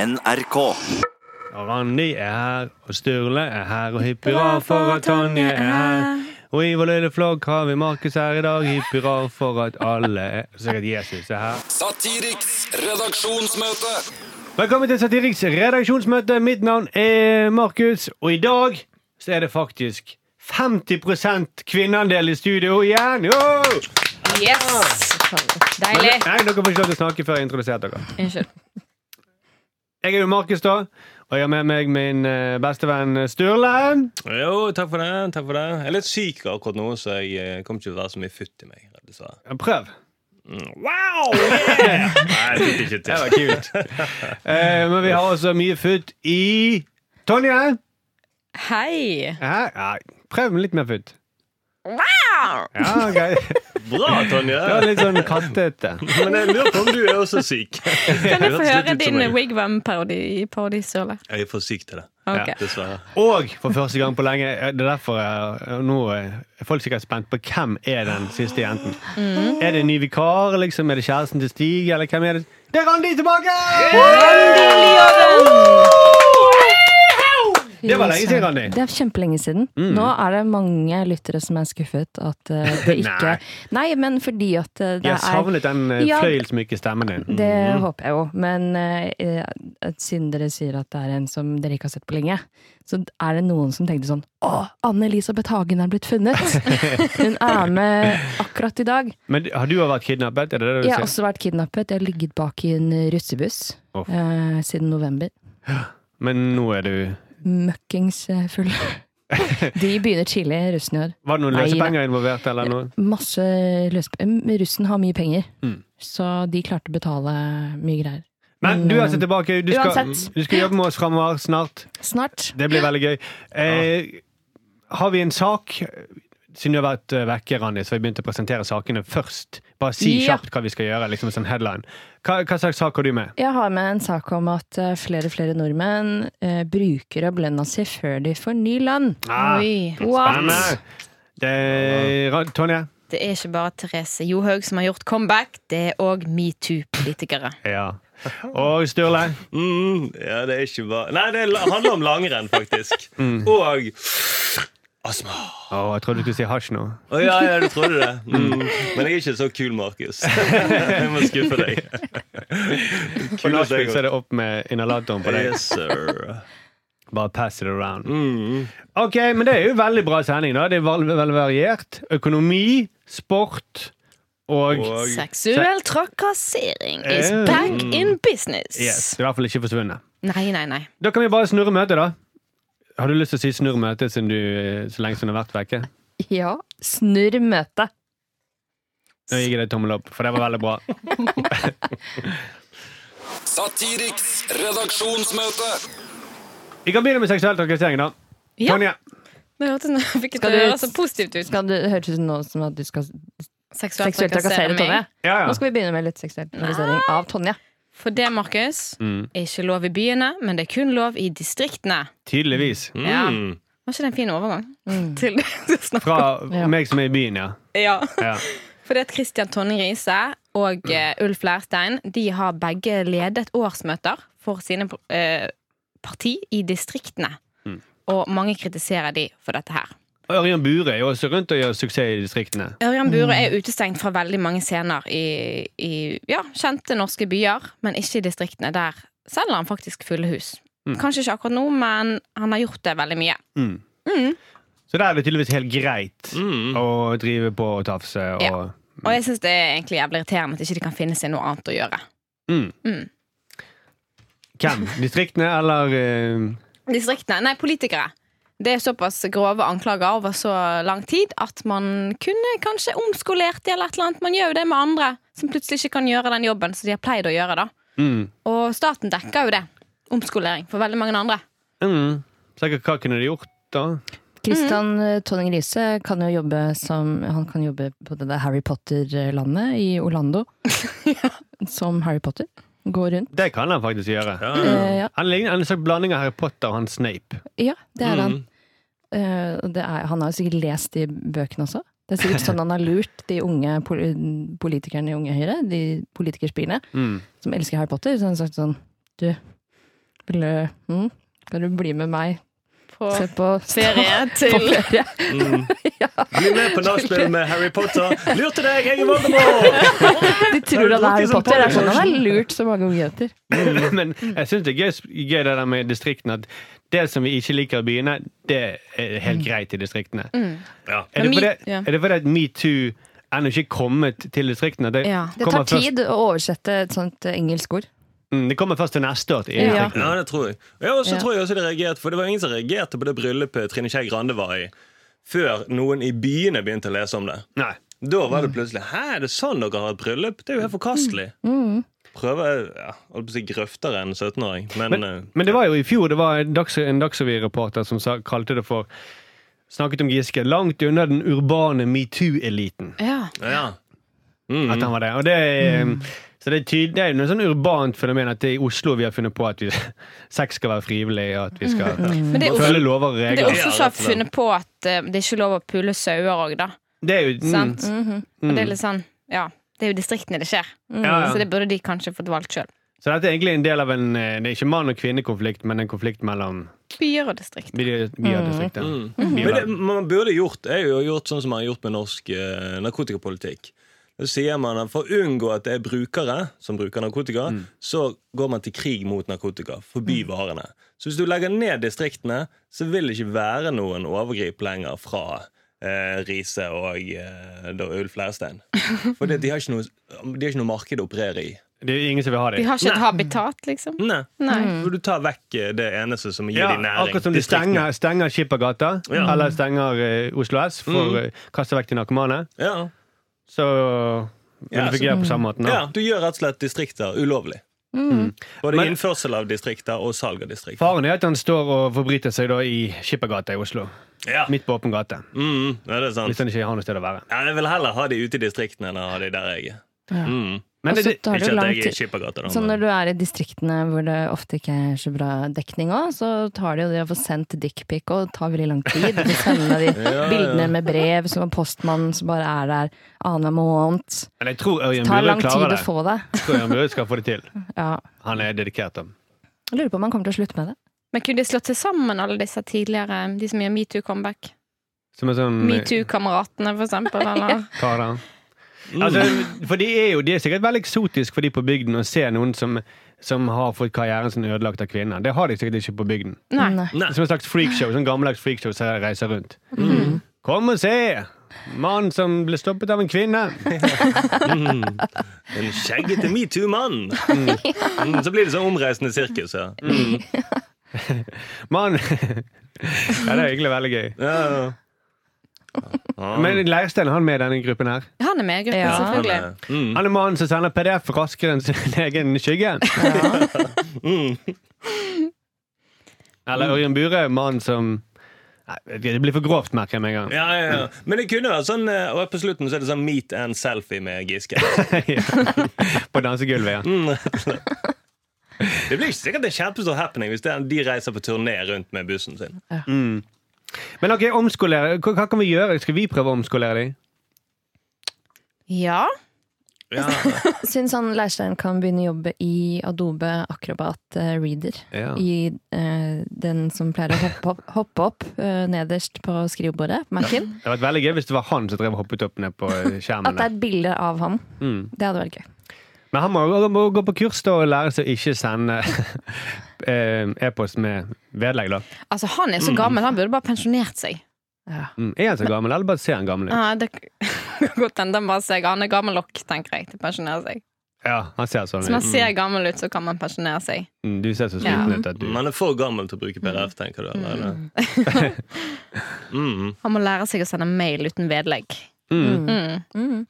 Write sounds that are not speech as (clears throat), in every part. NRK. Og Randi er her, og Sturle er her, og hipp hurra for at Tonje er her. Og i vår lille flagg har vi Markus her i dag, hipp hurra for at alle er Sikkert Jesus er her. Satiriks redaksjonsmøte. Velkommen til Satiriks redaksjonsmøte. Mitt navn er Markus, og i dag så er det faktisk 50 kvinneandel i studio igjen! Jo! Yes! Nei, Deilig. dere får ikke lov til å snakke før jeg har introdusert dere. Unnskyld. Jeg er jo Markus, da. Og jeg har med meg min eh, bestevenn Sturle. Jo, takk for det. takk for det Jeg er litt syk akkurat nå, så jeg eh, kommer ikke til å være så mye futt i meg. dessverre. Prøv. Wow! Yeah! (laughs) Nei, jeg fikk ikke Det var til. kult. Eh, men vi har også mye futt i Tonje! Hei. Hæ? Ja, prøv med litt mer futt. Ja, ok. Bra, Det var Tonje. litt sånn kattete. Men jeg lurer på om du er også syk. Kan jeg Hørtes få litt høre ut som din meg. wigwam-parodi, parodi, Sørle? Jeg er for syk til det. Ok. Dessverre. Og for første gang på lenge. eh, Det er derfor jeg, nå er folk sikkert spent på hvem er den siste jenten. Mm. Er det en ny vikar? liksom? Er det kjæresten til Stig? Eller hvem er det? Det er Randi tilbake! Det var lenge siden, Randi. Mm. Det er kjempelenge siden. Nå er det mange lyttere som er skuffet at eh, (laughs) det ikke Nei. Nei, men fordi at eh, det Jeg Mm. er savnet den eh, Ja. fløyelsmyke stemmen din. Det håper jeg jo, men eh, eh, siden dere sier at det er en som dere ikke har sett på lenge, så er det noen som tenkte sånn Å, Anne-Elisabeth Hagen er blitt (laughs) funnet! Hun er med akkurat i dag. Men har du vært kidnappet? Er det det du Jeg har sier? også vært kidnappet. Jeg har ligget bak i en russebuss Uff. eh, siden november. Men nå er du Møkkings eh, (laughs) full. De begynner tidlig, russen i år. Var det noen Nei, løsepenger involvert? eller noe? Masse løsp... eh, Russen har mye penger, så de klarte å betale mye greier. Men du er altså tilbake. Du skal, Uansett. du skal jobbe med oss framover snart. Snart. Det blir veldig gøy. Eh, har vi en sak? Siden du har vært eh, vekke, Randi, så har vi begynt å presentere sakene først. Bare si Ja. kjapt hva vi skal gjøre. liksom en sånn headline. Hva, hva slags sak har du med? Jeg har med en sak om at eh, flere og flere nordmenn eh, bruker opp lønna si før de får ny lønn. Ah, Oi. spennende. Det, Ra- Tonje? Det er ikke bare Therese Johaug som har gjort comeback, det er òg metoo-politikere. Ja. Og Sturle? Mm, ja, det er ikke bare Nei, det la- handler om langrenn, faktisk. Og astma. Å, jeg trodde du skulle si hasj nå. Å ja, ja, du trodde det. Mm. Men jeg er ikke så kul, Markus. Jeg må skuffe deg. På Kulest jeg nachspiel så har- er det opp med inhalatoren på deg. Yes, sir. Bare pass it around. Mm. Ok, men det er jo veldig bra sending da. Det er veldig, veldig variert. Økonomi, sport og... Og Seksuell trakassering is Eh. back in business. Yes, i hvert fall ikke forsvunnet. Nei, nei, nei. Da kan vi bare snurre møtet da. Har du lyst til å si snurre møtet siden du, eh, så lenge som du har vært vekke? Ja, snurr møtet. Nå gir jeg deg tommel opp, for det var veldig bra. Satiriks redaksjonsmøte. Vi kan begynne med seksuell trakassering da. Ja. Tonje, Det hørtes nå- fikk Skal det du- høres så positivt ut. Skal du, det høres ut nå som at du skal Seksuelt seksuelt trakassere Tonje. ja, Nå ja. skal vi begynne med litt seksuell trakassering av Tonje. For det, Markus, Mm. er ikke lov i byene, men det er kun lov i distriktene. Tydeligvis. Ja. Mm. Var ikke det en fin overgang? Mm. Til (laughs) det du snakker om? Fra Ja. meg som er i byen, ja. Ja. ja. Fordi at Kristian Tonning Riise og eh, Ulf Leirstein De har begge ledet årsmøter for sine eh, parti i distriktene. Og mange kritiserer de for dette her. Og Ørjan Bure er jo også rundt og gjør suksess i distriktene. Ørjan Bure er utestengt fra veldig mange scener i, i ja, kjente norske byer, men ikke i distriktene. Der selger han faktisk fulle hus. Kanskje ikke akkurat nå, men han har gjort det veldig mye. Mm. Mm. Så der er det tydeligvis helt greit Mm. å drive på og tafse og... Ja. Og jeg syns det er egentlig jævlig irriterende at ikke de kan finne seg noe annet å gjøre. Mm. Mm. Hvem? Distriktene eller eh, Distriktene, nei politikere Det er såpass grove anklager over så lang tid At man kunne kanskje omskolert de eller et eller annet Man gjør jo det med andre Som plutselig ikke kan gjøre den jobben som de har pleid å gjøre da mm, Og staten dekker jo det Omskolering for veldig mange andre mm. Sikkert hva kunne de gjort, da? Kristian eh, Tonning Riise kan jo jobbe som Han kan jobbe på det der Harry Potter-landet i Orlando. (laughs) Som Harry Potter. Gå rundt. Det kan han faktisk gjøre. Ja. Eh, ja. Han ligner en slags blanding av Harry Potter og han (laughs) Snape. ja, det er han. Mm. Eh, og det er, han har jo sikkert lest de bøkene også. Det er sikkert sånn han har lurt de unge pol politikerne i Unge Høyre, de politikerspillene, Mm. som elsker Harry Potter. Så han har sagt sånn Du, Vil du, mm, kan du bli med meg? På Se på ferie På til ferie. Bli med på nachspiel med Harry Potter. Lurte deg, jeg er Voldemort! De tror Har du han er drukket Harry som Potter. Det er sånn Potter? han har lurt så mange ungejenter. Mm. (laughs) Men jeg syns det er gøy, gøy det der med distriktene. At det som vi ikke liker i byene, det er helt greit i distriktene. Ja. Er, det Men me- fordi, Mm. ja. er det fordi at metoo ennå ikke er kommet til distriktene? Det, Ja. Det kommer tar først- tid å oversette et sånt eh, engelsk ord. Mm, det kommer først til neste år. Til Ja. distriktene. Ja, det tror jeg. Ja, og så Ja. tror jeg også det reagerte, for det var ingen som reagerte på det bryllupet Trine Skei Grande var i, før noen i byene begynte å lese om det. Nei. Da var det plutselig Hæ, er det sånn dere har et bryllup? Det er jo helt forkastelig. Prøver ja, holdt på å si grøftere enn 17-åring, men, eh, Men det var jo i fjor det var en Dags- en Dagsrevy-reporter som sa, kalte det for Snakket om Giske. Langt unna den urbane metoo-eliten. ja. eh, ja. At han var det. Og det er, Så det er, tydelig, det er jo noe sånn urbant fenomen at det er i Oslo vi har funnet på at vi, (laughs) sex skal være frivillig, og at vi skal Men det er følge Oslo- lover og Det er regler. Ja, Oslo som har rett og slett. funnet på at eh, det er ikke lov å pule sauer òg, da. Det er jo mm, Sant? Og det er litt sånn Ja. Det er jo distriktene det skjer, ja, ja. så det burde de kanskje fått valgt sjøl. Så dette er egentlig en del av en eh, Det er ikke mann- og kvinnekonflikt, men en konflikt mellom Byer og distrikt. bydistrikter. Men det man burde gjort, er jo gjort sånn som man har gjort med norsk eh, narkotikapolitikk. Da sier man at For å unngå at det er brukere som bruker narkotika, Mm. så går man til krig mot narkotika. Forby varene. Så hvis du legger ned distriktene, så vil det ikke være noen overgrip lenger fra eh, Riise og eh, da Ulf Leirstein. For det, de, har ikke noe, de har ikke noe marked å operere i. Det er jo ingen som vil ha Vi det. har ikke et Nei. habitat, liksom. Nei. Nei. For du tar vekk eh, det eneste som Mm. gir Ja, dem næring. akkurat som de distriktene. stenger, stenger Skippergata, Ja. Mm. eller stenger eh, Oslo S for å kaste vekk de narkomane, Ja. så vil Ja, det fungere på samme måten. Ja, da. du gjør rett og slett distrikter ulovlig. Mm. Både Mm. Men- innførsel av distrikter og salg av distrikter. Faren er at han står og forbryter seg da i Skippergata i Oslo. Ja. Midt på åpen gate. Mm, ja, det er Hvis sant. han ikke har noe sted å være. Ja, jeg vil heller ha de ute i distriktene enn å ha de der jeg er. Ja. Mm. Men Og så det, tar det Ikke jo at lang jeg er i tid. Skippergata, da. Så når men- du er i distriktene hvor det ofte ikke er så bra dekning òg, så tar det jo det å få sendt dickpic og tar veldig lang tid. Du får sende de bildene med brev som har postmannen som bare er der annenhver måned. men jeg tror Ørjan Tar Burøe lang tid klarer å det. få det. Jeg tror Ørjan Burøe skal få det til. Ja. Han er dedikert. da. Jeg lurer på om han kommer til å slutte med det. Men kunne de slått seg sammen, alle disse tidligere, de som gjør metoo-comeback? Som en sånn eh, Metoo-kameratene, for eksempel. Eller? kar da. Mm. Altså, for de er jo de er sikkert veldig eksotisk for de på bygden å se noen som, som har fått karrieren sin ødelagt av kvinner. Det har de sikkert ikke på bygden. Nei. eh, Nei. Som en slags freakshow, sånn gammeldags freakshow som jeg reiser rundt. Kom og se! Mann som ble stoppet av en kvinne. (laughs) En skjeggete (laughs) metoo-mann! Mm. Så blir det sånn omreisende sirkus. Ja. Mm. Mann (laughs) Ja, det er egentlig veldig gøy. Ja, ja. Ja. Men Leirstein er han med i denne gruppen her? Han er med i gruppen, Ja. selvfølgelig. Men, eh, mm. Han er mannen som sender PDF raskere enn sin (laughs) egen skygge? Eller Ørjan Bure, mannen som Nei, vet ikke, Det blir for grovt, merker jeg med en gang. Ja, ja, ja. Men det kunne vært sånn eh, Og på slutten så er det sånn meet and selfie med (laughs) Giske. På dansegulvet, ja. Det blir ikke sikkert en kjempestor happening hvis det er, de reiser på turné rundt med bussen sin. Men ok, omskolere. Hva, hva kan vi gjøre? Skal vi prøve å omskolere dem? Ja. Ja. Syns han Leirstein kan begynne å jobbe i Adobe Acrobat eh, Reader. Ja. I eh, den som pleier å hoppe opp, hoppe opp eh, nederst på skrivebordet, på Mac-en. Det hadde vært veldig gøy hvis det var han som drev og hoppet opp ned på eh, skjermen. At der. det er et bilde av ham. Mm. Det hadde vært gøy. Men han må, han må gå på kurs da og lære seg å ikke sende (laughs) eh, e-post med vedlegg, da. Altså, han er så gammel, han burde bare pensjonert seg. Mm. Er han så gammel, eller bare ser han gammel ut? Ja, det (laughs) kan godt hende han bare ser Han er gammel nok, tenker jeg, til å pensjonere seg. Ja, han ser sånn Hvis man ut. ser gammel ut, så kan man pensjonere seg. Mm, Du ser så Ja. sliten ut at du Man er for gammel til å bruke PDF, tenker du? Eller? Mm. Han må lære seg å sende mail uten vedlegg. mm. Mm.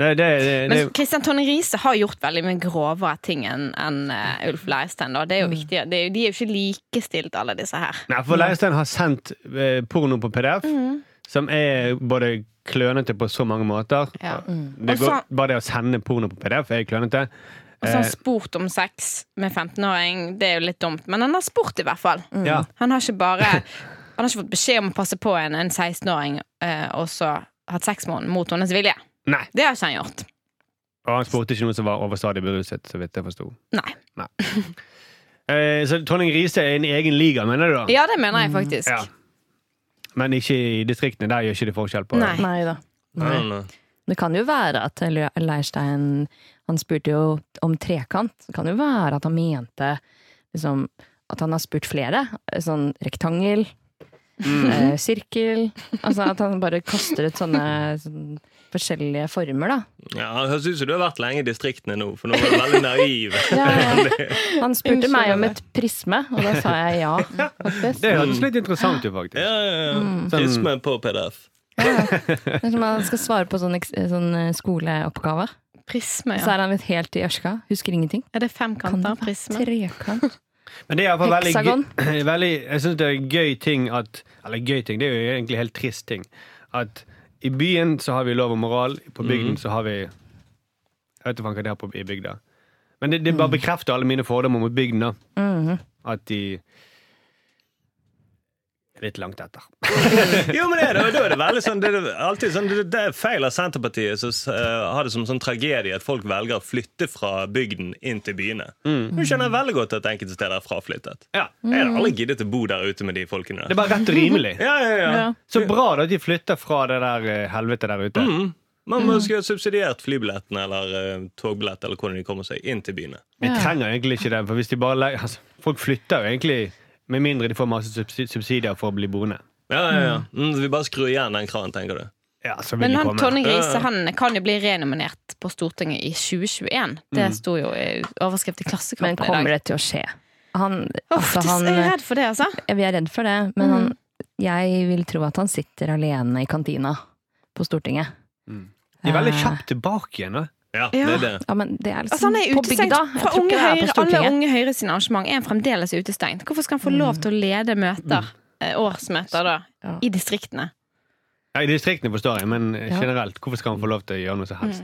det, det, det, det, Men Kristian Tonje Riise har gjort veldig mye grovere ting enn enn, eh, Ulf Leirstein. da. Det er jo viktig. Det er, jo- de er jo ikke likestilt, alle disse her. Nei, for Leirstein har sendt eh, porno på PDF, Mm. som er både klønete på så mange måter. Ja. Det Mm. Og går, så- bare det å sende porno på PDF er klønete. Og så har han spurt om sex med 15-åring. Det er jo litt dumt, men han har spurt, i hvert fall. Ja. Han har ikke bare Han har ikke fått beskjed om å passe på en, en 16-åring eh, og så hatt sex med henne mot hennes vilje. Nei. Det har ikke han gjort. Og han spurte ikke noen som var overstadig beruset, så vidt jeg forsto. Nei. (laughs) Eh, så Tonning Riise er en egen liga, mener du da? Ja, det mener jeg faktisk. Ja. Men ikke i distriktene. Der gjør ikke det forskjell på Nei. Nei da. Nei, nei. Det kan jo være at Le- Leirstein Han spurte jo om trekant. Det kan jo være at han mente liksom, at han har spurt flere. Sånn rektangel, Mhm. eh, sirkel Altså at han bare kaster ut sånne, sånn forskjellige former, da. Ja, det høres ut som du har vært lenge i distriktene nå, for nå var du veldig naiv. (laughs) Han spurte Unnskyld meg om meg. et prisme, og da sa jeg ja, faktisk. Det hørtes litt interessant ut, faktisk. Ja, ja, ja. Prisme på PDF. Det er som om han skal svare på sånn, eks- sånn eh, skoleoppgave. Prisme, Så ja. er han litt helt i ørska. Husker ingenting. Er det Kan det femkanter? være Prisme? trekant? Men det er iallfall veldig, Heksagon. gøy- (clears throat) veldig Jeg syns det er gøy ting at Eller gøy ting, det er jo egentlig helt trist ting. At i byen så har vi lov og moral, på bygden så har vi Jeg vet ikke faen hva det er på, i bygda. Men det, det bare bekrefter alle mine fordommer mot bygden, da. At de er litt langt etter. Jo, men det er det, og da er det veldig sånn Det er alltid sånn, det- det er feil av Senterpartiet som eh, har det som sånn tragedie at folk velger å flytte fra bygden inn til byene. Du skjønner veldig godt at enkelte steder er fraflyttet. Mm. Ja. Mm. Jeg hadde aldri giddet å bo der ute med de folkene Det er der. bare rett og rimelig. Ja, ja, ja. Så bra da at de flytter fra det der eh, helvete der ute. Mm. Man må skulle ha subsidiert flybilletten eller eh, togbillett eller hvordan de kommer seg inn til byene. Vi trenger egentlig ikke det, for hvis de bare legger (laughs) altså, Folk flytter jo egentlig med mindre de får masse subsi- subsidier for å bli boende. Ja, ja, ja. Mm, vi bare skrur igjen den kranen, tenker du. Ja, så vil Men de han, komme. Tonje Ja, ja. Riise han kan jo bli renominert på Stortinget i 2021. Det sto jo i overskrift i Men Klassekampen i kommer dag. det til å skje? Han, Uff, altså, det- han, jeg er redd for det, altså. eh, vi er redd for det, men han, jeg vil tro at han sitter alene i kantina på Stortinget. De er veldig Ah. kjapt tilbake igjen. Da. Ja, Ja. det er det. Ja, men det er liksom altså han er på utestengt bygda. Jeg fra tror unge ikke det høyre, er på alle Stortinget. Mm. Unge Høyre sine arrangement. Er han fremdeles utestengt? Hvorfor skal han få lov til å lede møter, eh, årsmøter, da, Ja. i (laughs) distriktene? Ja, I distriktene forstår jeg, men generelt, hvorfor skal han få lov til å gjøre noe som Mm. helst?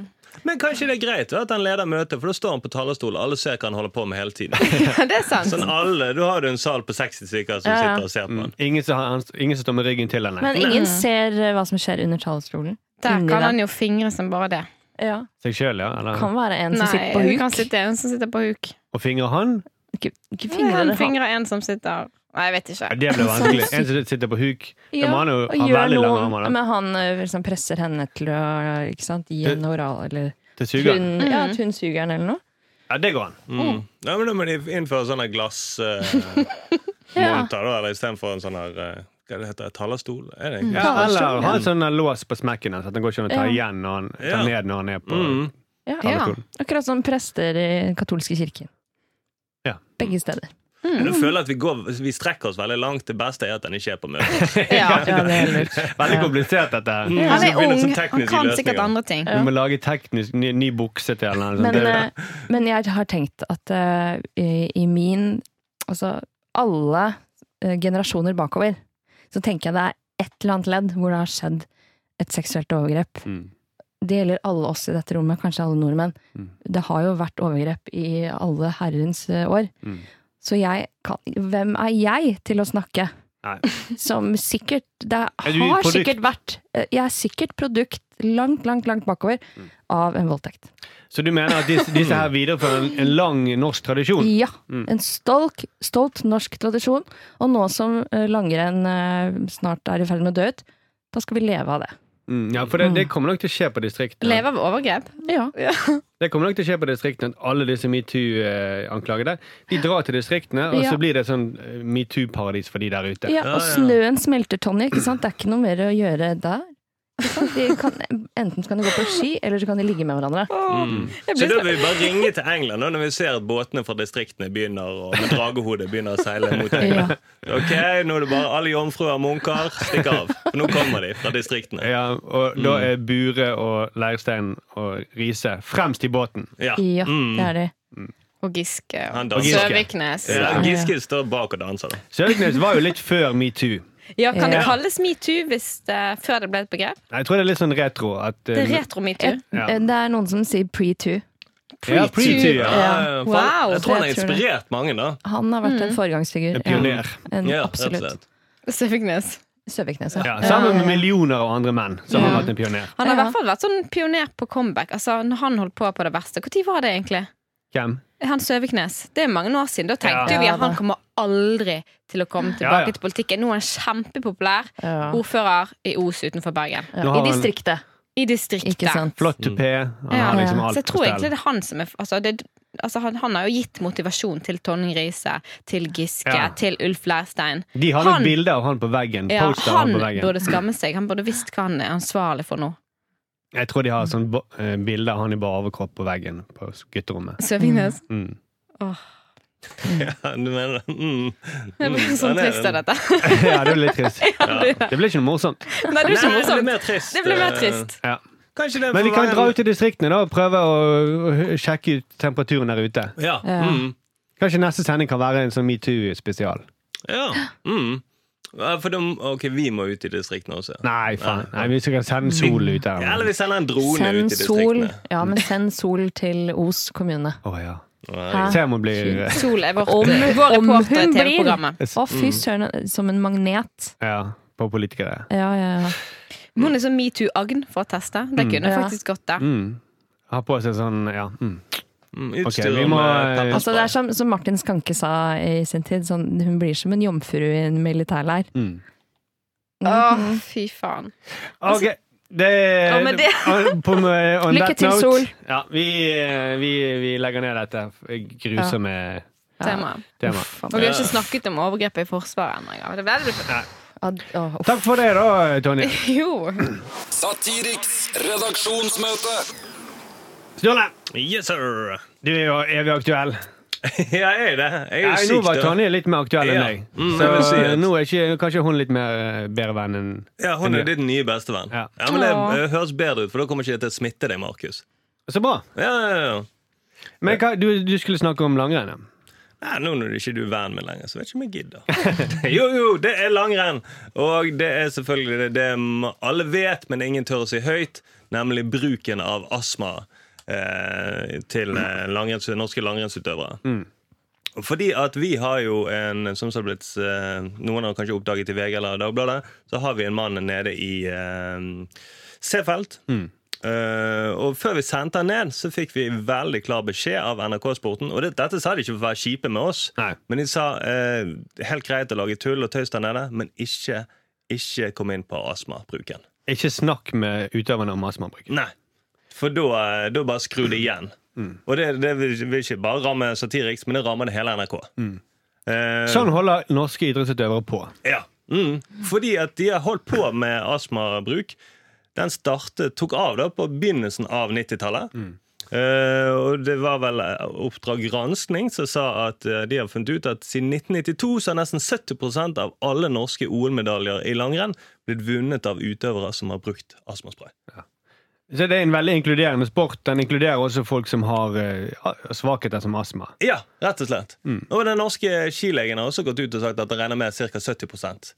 Men kanskje det er greit vet, at han leder møtet, for da står han på talerstolen, alle ser hva han holder på med hele tiden. det er sant. Sånn alle, Da har du en sal på 60 stykker som Ja, ja. sitter og ser på han. Mm. Ingen, som har, ingen som står med ryggen til henne. Men ingen ser eh, hva som skjer under talerstolen. Der Inni kan den. han jo fingre som bare det. Ja. Seg sjøl, ja. Eller, Kan være en som sitter Nei, på hun huk. kan sitte en som sitter på huk. Og fingre han? Ikke, ikke fingre Han eller hånd. fingrer en som sitter Nei, jeg vet Ja, ikke. (laughs) det blir vanskelig. En som sitter på huk. Da må han jo Sånn og ha gjør veldig lange noe- armer. da. Men han eh, liksom presser henne til å ikke sant, gi Det- en oral eller Til sugeren. hun, ja, at hun suger den eller noe. Ja, det går an. Mm. Ja, men Da må de innføre sånne glassmonter, Ja. eller istedenfor en sånn her eh, Hva det heter det? Talerstol? Er det egentlig? Ja, eller ha en sånn der lås på smekken hans, at han går ikke an å ta Ja. igjen når han Ja. tar ned når han er på Mm. Ja. Ja. Akkurat som prester i den katolske kirken. Ja. Begge steder. Men Jeg føler at vi, går, vi strekker oss veldig langt. Det beste er at den ikke er på møte. Ja. Ja, Mm. det er lurt. Veldig komplisert, dette her. Han (laughs) Så er finnes ung, det sånn han tekniske kan løsninger. sikkert andre ting. Du må lage teknisk ny, ny bukse til eller noe sånt. Men, Det er jo det. eh, men jeg har tenkt at eh, i- i min Altså alle eh, generasjoner bakover, så tenker jeg det er et eller annet ledd hvor det har skjedd et seksuelt overgrep. Mm. Det gjelder alle oss i dette rommet, kanskje alle nordmenn. Det har jo vært overgrep i alle herrens eh, år. Mm. Så jeg kan Hvem er jeg til å snakke? Nei. (laughs) Som sikkert Det Er du har produkt? sikkert vært eh, Jeg er sikkert produkt langt, langt, langt bakover Mm. av en voldtekt. Så du mener at disse, disse her viderefører en, en lang norsk tradisjon? Ja. Mm. En stolk, stolt norsk tradisjon. Og nå som eh, langrenn eh, snart er i ferd med å dø ut, da skal vi leve av det. Mm, ja, for det, det kommer nok til å skje på distriktene. Leve av overgrep. Ja. Det kommer nok til å skje på distriktene at alle disse metoo-anklagede De drar til distriktene, og Ja. så blir det sånn eh, metoo-paradis for de der ute. ja Ja, ja. og snøen smelter, Tonje. Ikke sant? Det er ikke noe mer å gjøre der. Ikke sant? De kan, enten så kan de gå på ski, eller så kan de ligge med hverandre. Jeg Så blir da vil vi bare ringe til England da, når vi ser at båtene fra distriktene begynner å- med dragehodet begynner å seile mot England. Ok, nå er det bare alle jomfruer og munker. Stikk av. For nå kommer de fra distriktene. Ja, og da er Bure og Leirstein og Riise fremst i båten. Ja. Mm. Ja, det er de. Og Giske Han og danser. Søviknes. Ja, Giske står bak og danser. da. Søviknes var jo litt før metoo. Ja, kan det Ja. kalles metoo hvis det, før det ble et begrep? Jeg tror det er litt sånn retro. At, Det er eh, retro-metoo. Ja. Eh, Det er noen som sier pre-two. ja, pre-too. Ja. Ja, Wow, for han- jeg tror han har det tror jeg. inspirert mange, da. Han har vært en foregangsfigur. En pioner. Ja, en, Ja, rett og Mm, absolutt. Eh, slett. Søviknes. Søviknes, ja. Ja, sammen med millioner av andre menn som har Ja. vært en pioner. Han har i Ja. hvert fall vært sånn pioner på comeback. Altså, når han holdt på på det verste. Når var det egentlig? Hvem? Han Søviknes. Det er mange år siden. Da tenkte Ja. jo vi Ja, at da. han kommer aldri til å komme tilbake Ja, ja. til politikken. Nå er han kjempepopulær. Ja. Ordfører i Os utenfor Bergen. Nå Ja. har I han- distriktet, I distriktet. ikke sant. Flott tupé. Han Ja. har liksom Ja. alt Så jeg tror på egentlig stell. det er han som er altså det, altså han, han har jo gitt motivasjon til Tonning Riise, til Giske, Ja. til Ulf Leirstein. De har nok Han- bilde av han på veggen. Ja, Poster av han han på veggen. burde skamme seg. Han burde visst hva han er ansvarlig for nå. Jeg tror de har sånn bo- eh, bilde av han i bare overkropp på veggen på (laughs) gutterommet. Søviknes. Mm. Ja, du mener det? Mm. Jeg Mm, blir sånn han er trist en- av dette. (laughs) ja, det er litt trist. Det- Det ble ikke noe morsomt. Nei, det er ikke Nei, det blir morsomt. mer trist. eh, Det blir mer trist. Ja. Kanskje det Men vi får kan være dra en- ut til distriktene da og prøve å å sjekke ut temperaturen der ute. Ja. Ja. Mm. Kanskje neste sending kan være en sånn metoo-spesial. ja. Mm. Ja, For de, ok, vi må ut i distriktene også. Nei, faen. Nei, vi skal sende sol ut Ja, Eller der. vi sender en drone ut Send i sol, distriktene. ja, men send sol til Os kommune. Å ja. Nei. Se om hun blir eh, Sol er vårt, Om- vår om reporter i hun blir- TV-programmet. Å, Mm. fy søren, som en magnet. Ja, på politikere. Ja, ja, ja. Hun er sånn metoo-agn for å teste. Det kunne Ja. faktisk gått, det. Mm. Har på seg sånn Ja. Mm. Mm, Ok, vi Utstyr eh, må- med pepperspray. Altså, det er som, som Martin Skanke sa i sin tid, sånn, hun blir som en jomfru i en militærleir. Mm. Åh, fy faen. OK. Det, Ja, (laughs) men det- på, med- on Lykke that til, note. Sol. Ja, vi, vi, vi legger ned dette grusomme Temaet. temaet. Og vi har ikke snakket om overgrepet i Forsvaret ennå. engang. Det er veldig- Ad, å, uff. Takk for det, da, Tonje. (laughs) Jo. Satiriks redaksjonsmøte. Sturle, Yes, sir! (laughs) du er jo evig aktuell. Ja, jeg er det. Jeg er Ja, jo nå syk, var da. Tonje litt mer aktuell enn Ja. deg. Mm, Så jeg vil si at- nå er ikke, kanskje hun litt mer eh, bedre venn enn Ja, hun er ditt nye bestevenn. Ja. Ja. men det Åh. eh, høres bedre ut, for da kommer ikke jeg til å smitte deg, Markus. Så bra. Ja, ja, ja. Men hva, du, du skulle snakke om langrenn. ja. Nei, nå når du ikke du er venn med lenger, så vet ikke om jeg (laughs) gidder. jo, jo, det er langrenn! Og det er selvfølgelig det, det m- alle vet, men ingen tør å si høyt, nemlig bruken av astma eh, til eh, langrenns, norske langrennsutøvere. Fordi at vi har jo en, som det har blitt, eh, noen har kanskje oppdaget i VG eller Dagbladet, så har vi en mann nede i eh, Seefeld. Eh, og før vi sendte han ned, så fikk vi veldig klar beskjed av NRK Sporten. Og det, dette sa de ikke for å være kjipe med oss, Nei. men de sa eh, helt greit å lage tull og tøys der nede, men ikke, ikke kom inn på astmabruken. Ikke snakk med utøverne om astmabruk. Nei. For da, eh, da bare skrur det igjen. Og det, det vil, vil ikke bare ramme Satiriks, men det rammer det hele NRK. Eh, Sånn holder norske idrettsutøvere på. Ja. Mm. Fordi at de har holdt på med astmabruk. Den startet, tok av da på begynnelsen av 90-tallet. Eh, og det var vel eh, Oppdrag Granskning som sa at eh, de har funnet ut at siden 1992 så har nesten 70 av alle norske OL-medaljer i langrenn blitt vunnet av utøvere som har brukt astmaspray. Så det er en veldig inkluderende sport. Den inkluderer også folk som har eh, a- svakheter som astma. Ja, rett og slett. Og den norske skilegen har også gått ut og sagt at det regner med ca. 70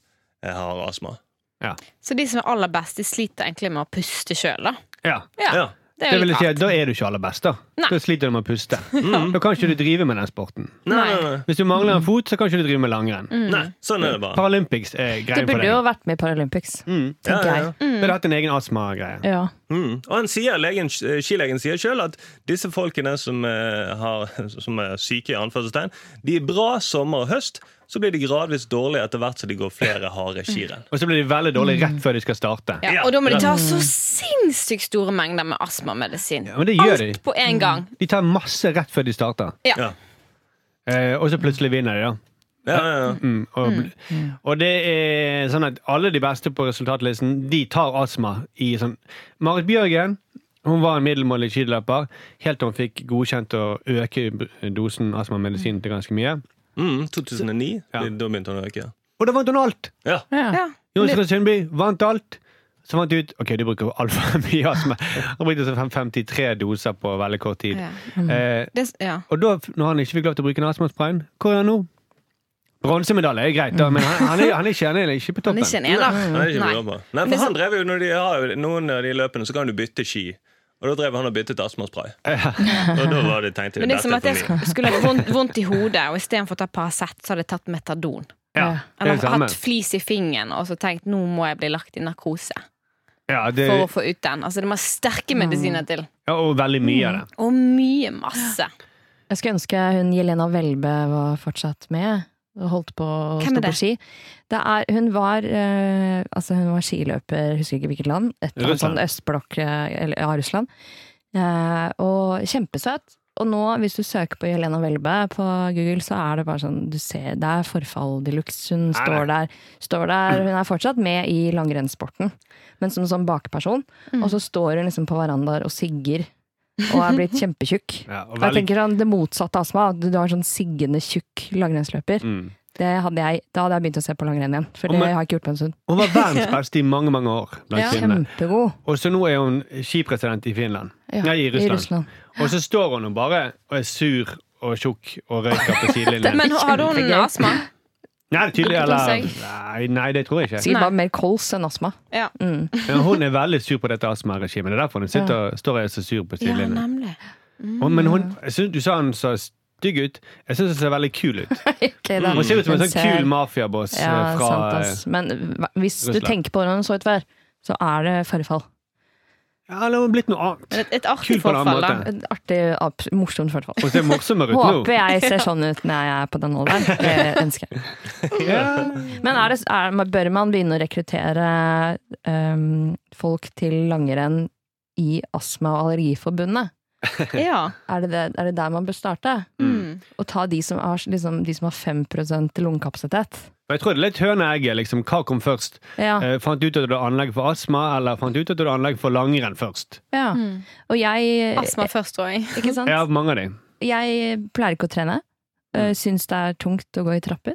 har astma. Ja. Så de som er aller best, de sliter egentlig med å puste sjøl, da. ja. Ja. Ja. Det Det er jo vil litt si rart. at Da er du ikke aller best. Da Nei. Da sliter du med å puste. Mm. Da kan ikke du drive med den sporten. Nei, Nei. nei, Hvis du mangler en fot, så kan ikke du drive med langrenn. nei. nei, sånn er det bare. Paralympics er Mm. Du greien for burde jo deg. vært med i Paralympics, Ja, tenker ja, ja. jeg. Du burde hatt en egen astmagreie. Ja. Mm. Og han sier, legen, skilegen sier sjøl at disse folkene som, eh, har, som er syke, i anførselstegn, de er bra sommer og høst. Så blir de gradvis dårlige etter hvert som de går flere harde skirenn. Og så blir de veldig dårlige rett før de skal starte. Ja, Ja. og da må de ta så sinnssykt store mengder med astmamedisin. Ja, men det gjør de. Alt på en gang. De tar masse rett før de starter, Ja. eh, og så plutselig vinner de. da Ja, ja, ja. Mm, og, og det er sånn at alle de beste på resultatlisten, de tar astma i sånn Marit Bjørgen hun var en middelmådig skiløper helt til hun fikk godkjent å øke b- dosen astmamedisin til ganske mye. Mm, 2009. Ja. Da begynte han å øke. Og da vant hun alt! Ja. Ja. Jonsrud Sundby vant alt. Så fant de ut ok, de bruker altfor (laughs) mye astma. Han brukte sånn fem- 53 doser på veldig kort tid. Ja. Eh, Det, ja. og da, når han ikke fikk lov til å bruke den astmasprayen, hvor er han nå? Bronsemedalje er greit, da, men han, han, er, han, er ikke, han er ikke på Han toppen. er ikke en ener. Nei, det er ikke Nei. bra på. Nei, Men for så- han drev jo, når de har jo noen av de løpene, så kan du bytte ski. Og da drev han og byttet astmaspray. Og da var det tenkte Men det er jeg, som at dette jeg er for mye. sk- skulle hatt vondt, vondt i hodet, og istedenfor å ta Paracet, så hadde jeg tatt Metadon. Ja, det er Eller det samme. hatt flis i fingeren og så tenkt nå må jeg bli lagt i narkose Ja, det, for å få ut den. Altså Det må sterke medisiner til. ja, og veldig mye av det. Og mye masse. Jeg skulle ønske hun Jelena Welbe var fortsatt med. Og holdt på å Hvem er stå på det? ski. Det er, hun, var, eh, altså hun var skiløper, husker ikke hvilket land. Et eller annet Russland. sånn østblokk eh, eller, ja, Russland. Eh, og kjempesøt. Og nå, hvis du søker på Jelena Welbe på Google, så er det bare sånn du ser, Det er forfall de luxe. Hun står der, står der. Hun er fortsatt med i langrennssporten, men som sånn bakperson. Mm. Og så står hun liksom på verandaer og sigger. Og er blitt kjempetjukk. Ja, og Og Jeg veldig- tenker sånn, Det motsatte av astma, at du har sånn siggende tjukk langrennsløper. Mm. Det hadde jeg, da hadde jeg begynt å se på langrenn igjen, for Og det men- har jeg ikke gjort på en stund. Hun var (laughs) verdens beste i mange mange år blant Ja. kvinnene. Kjempegod. Og så nå er hun skipresident i Finland. Ja, Nei, i Russland. I Russland. Og så står hun og bare og er sur og tjukk og røyker (laughs) på sidelinjen. Men hadde hun Kjempegøy. astma? Nei, tydelig, eller Ikke nei, nei, det tror jeg ikke. Sikkert Nei. bare mer kols enn astma. Ja. (laughs) Men hun er veldig sur på dette astmaregimet. Det er derfor hun sitter, står og er så sur på ja, sidelinjen. nemlig. Og- Men hun, jeg synes, du sa hun så stygg ut. Jeg syns hun ser veldig kul ut. Okay, da. Hun ser ut som en (laughs) Den sånn ser- kul mafiaboss eh, ja, fra sant, ass. Men hva- hvis du Russland. tenker på hvordan hun så ut før, så er det forfall. Ja, eller hun er blitt noe annet. Men et, et artig Kul på en annen forfall, da. måte. Et Artig, ab- morsomt forfall. Hun ser morsommere ut Håper nå. jeg ser sånn ut når jeg er på den alderen. Det ønsker jeg. Ja. Men er det, er, bør man begynne å rekruttere øhm, folk til langrenn i Astma- og Allergiforbundet? Ja. (laughs) Er det, det, er det der man bør starte? Mm. Å ta de som har, liksom, de som har 5 lungekapasitet? Og Jeg tror det er litt høne-egget. Liksom. Hva kom først? Ja. Eh, fant du ut at du hadde anlegg for astma, eller fant du ut at du hadde anlegg for langrenn først? ja. Og jeg Astma først, tror jeg. Ikke sant? Ja, Mm. mange av dem. Jeg pleier ikke å trene. Øh, Syns det er tungt å gå i trapper.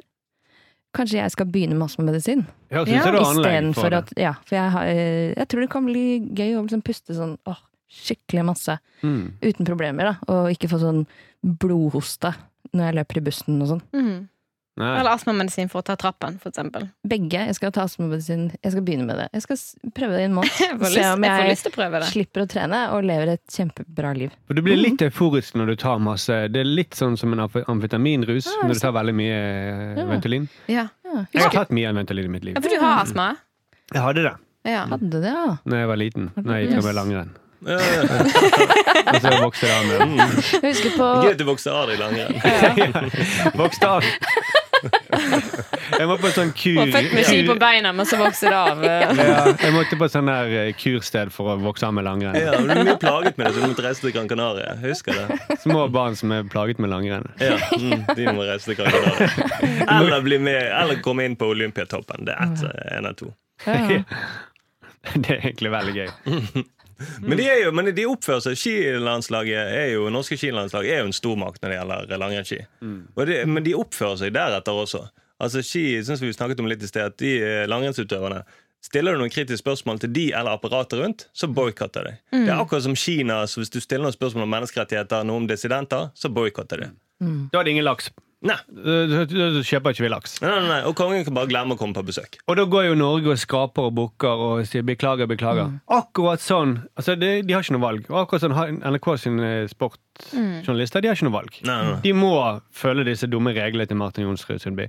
Kanskje jeg skal begynne med astmamedisin? Ja, Ja, synes jeg du har anlegg for Istedenfor det. at Ja, for jeg, har, øh, jeg tror det kan bli gøy å liksom puste sånn åh, skikkelig masse. Mm. uten problemer, da. Og ikke få sånn blodhoste når jeg løper i bussen og sånn. Mm. Nei. Eller astmamedisin for å ta trappen, for eksempel. Begge. Jeg skal ta astmamedisin. Jeg skal begynne med det. Jeg skal s- prøve det i en måned. Jeg får Se lyst, om jeg får (laughs) jeg lyst til å prøve det. slipper å trene og lever et kjempebra liv. For du Mm. blir litt euforisk når du tar masse Det er litt sånn som en amf- amfetaminrus Ja, når du tar veldig mye eh, Ja. Ventolin. Ah, Ja. Ja, Jeg har husker tatt mye Ventolin i mitt liv. ja, for du har astma? Jeg hadde det Ja. hadde det, ja. da jeg var liten, når jeg gikk Yes. over langrenn. Ja, ja. (laughs) Og så vokste det av med den. Jeg husker (laughs) Gøy på at du vokste av deg i langrenn. Vokste av! Jeg må på en sånn kur Og født med ski på beina, men så vokser det av. eh. Ja, jeg måtte på sånn der eh, kursted for å vokse av med langrenn. Ja, du ble mye plaget med det, så du måtte reise til Gran Canaria. Jeg Husker det. Små barn som er plaget med langrenn. (laughs) Ja, mm, de må reise til Gran Canaria. Eller, bli med, eller komme inn på Olympiatoppen. Det er ett, eh, en av to. ja. Det er egentlig veldig gøy. Men de, er jo, men de oppfører seg. Skilandslaget er jo, norske skilandslag er jo en stormakt når det gjelder langrennsski. Og det- Men de oppfører seg deretter også. Altså ski, synes vi snakket om litt i sted, at de eh, langrennsutøverne Stiller du noen kritiske spørsmål til de eller apparatet rundt, så boikotter de. Det er akkurat som Kina. så Hvis du stiller noen spørsmål om menneskerettigheter, noe om dissidenter, så boikotter de. Da er det ingen laks. Nei. Da da kjøper ikke vi laks. Nei, nei, nei. Og kongen kan bare glemme å komme på besøk. Og da går jo Norge og skraper og bukker og sier beklager, beklager. Akkurat sånn. Altså, de, de har ikke noe valg. Og akkurat sånn har NRK sine sportsjournalister de har ikke noe valg. Nei, nei, nei. De må følge disse dumme reglene til Martin Jonsrud Sundby.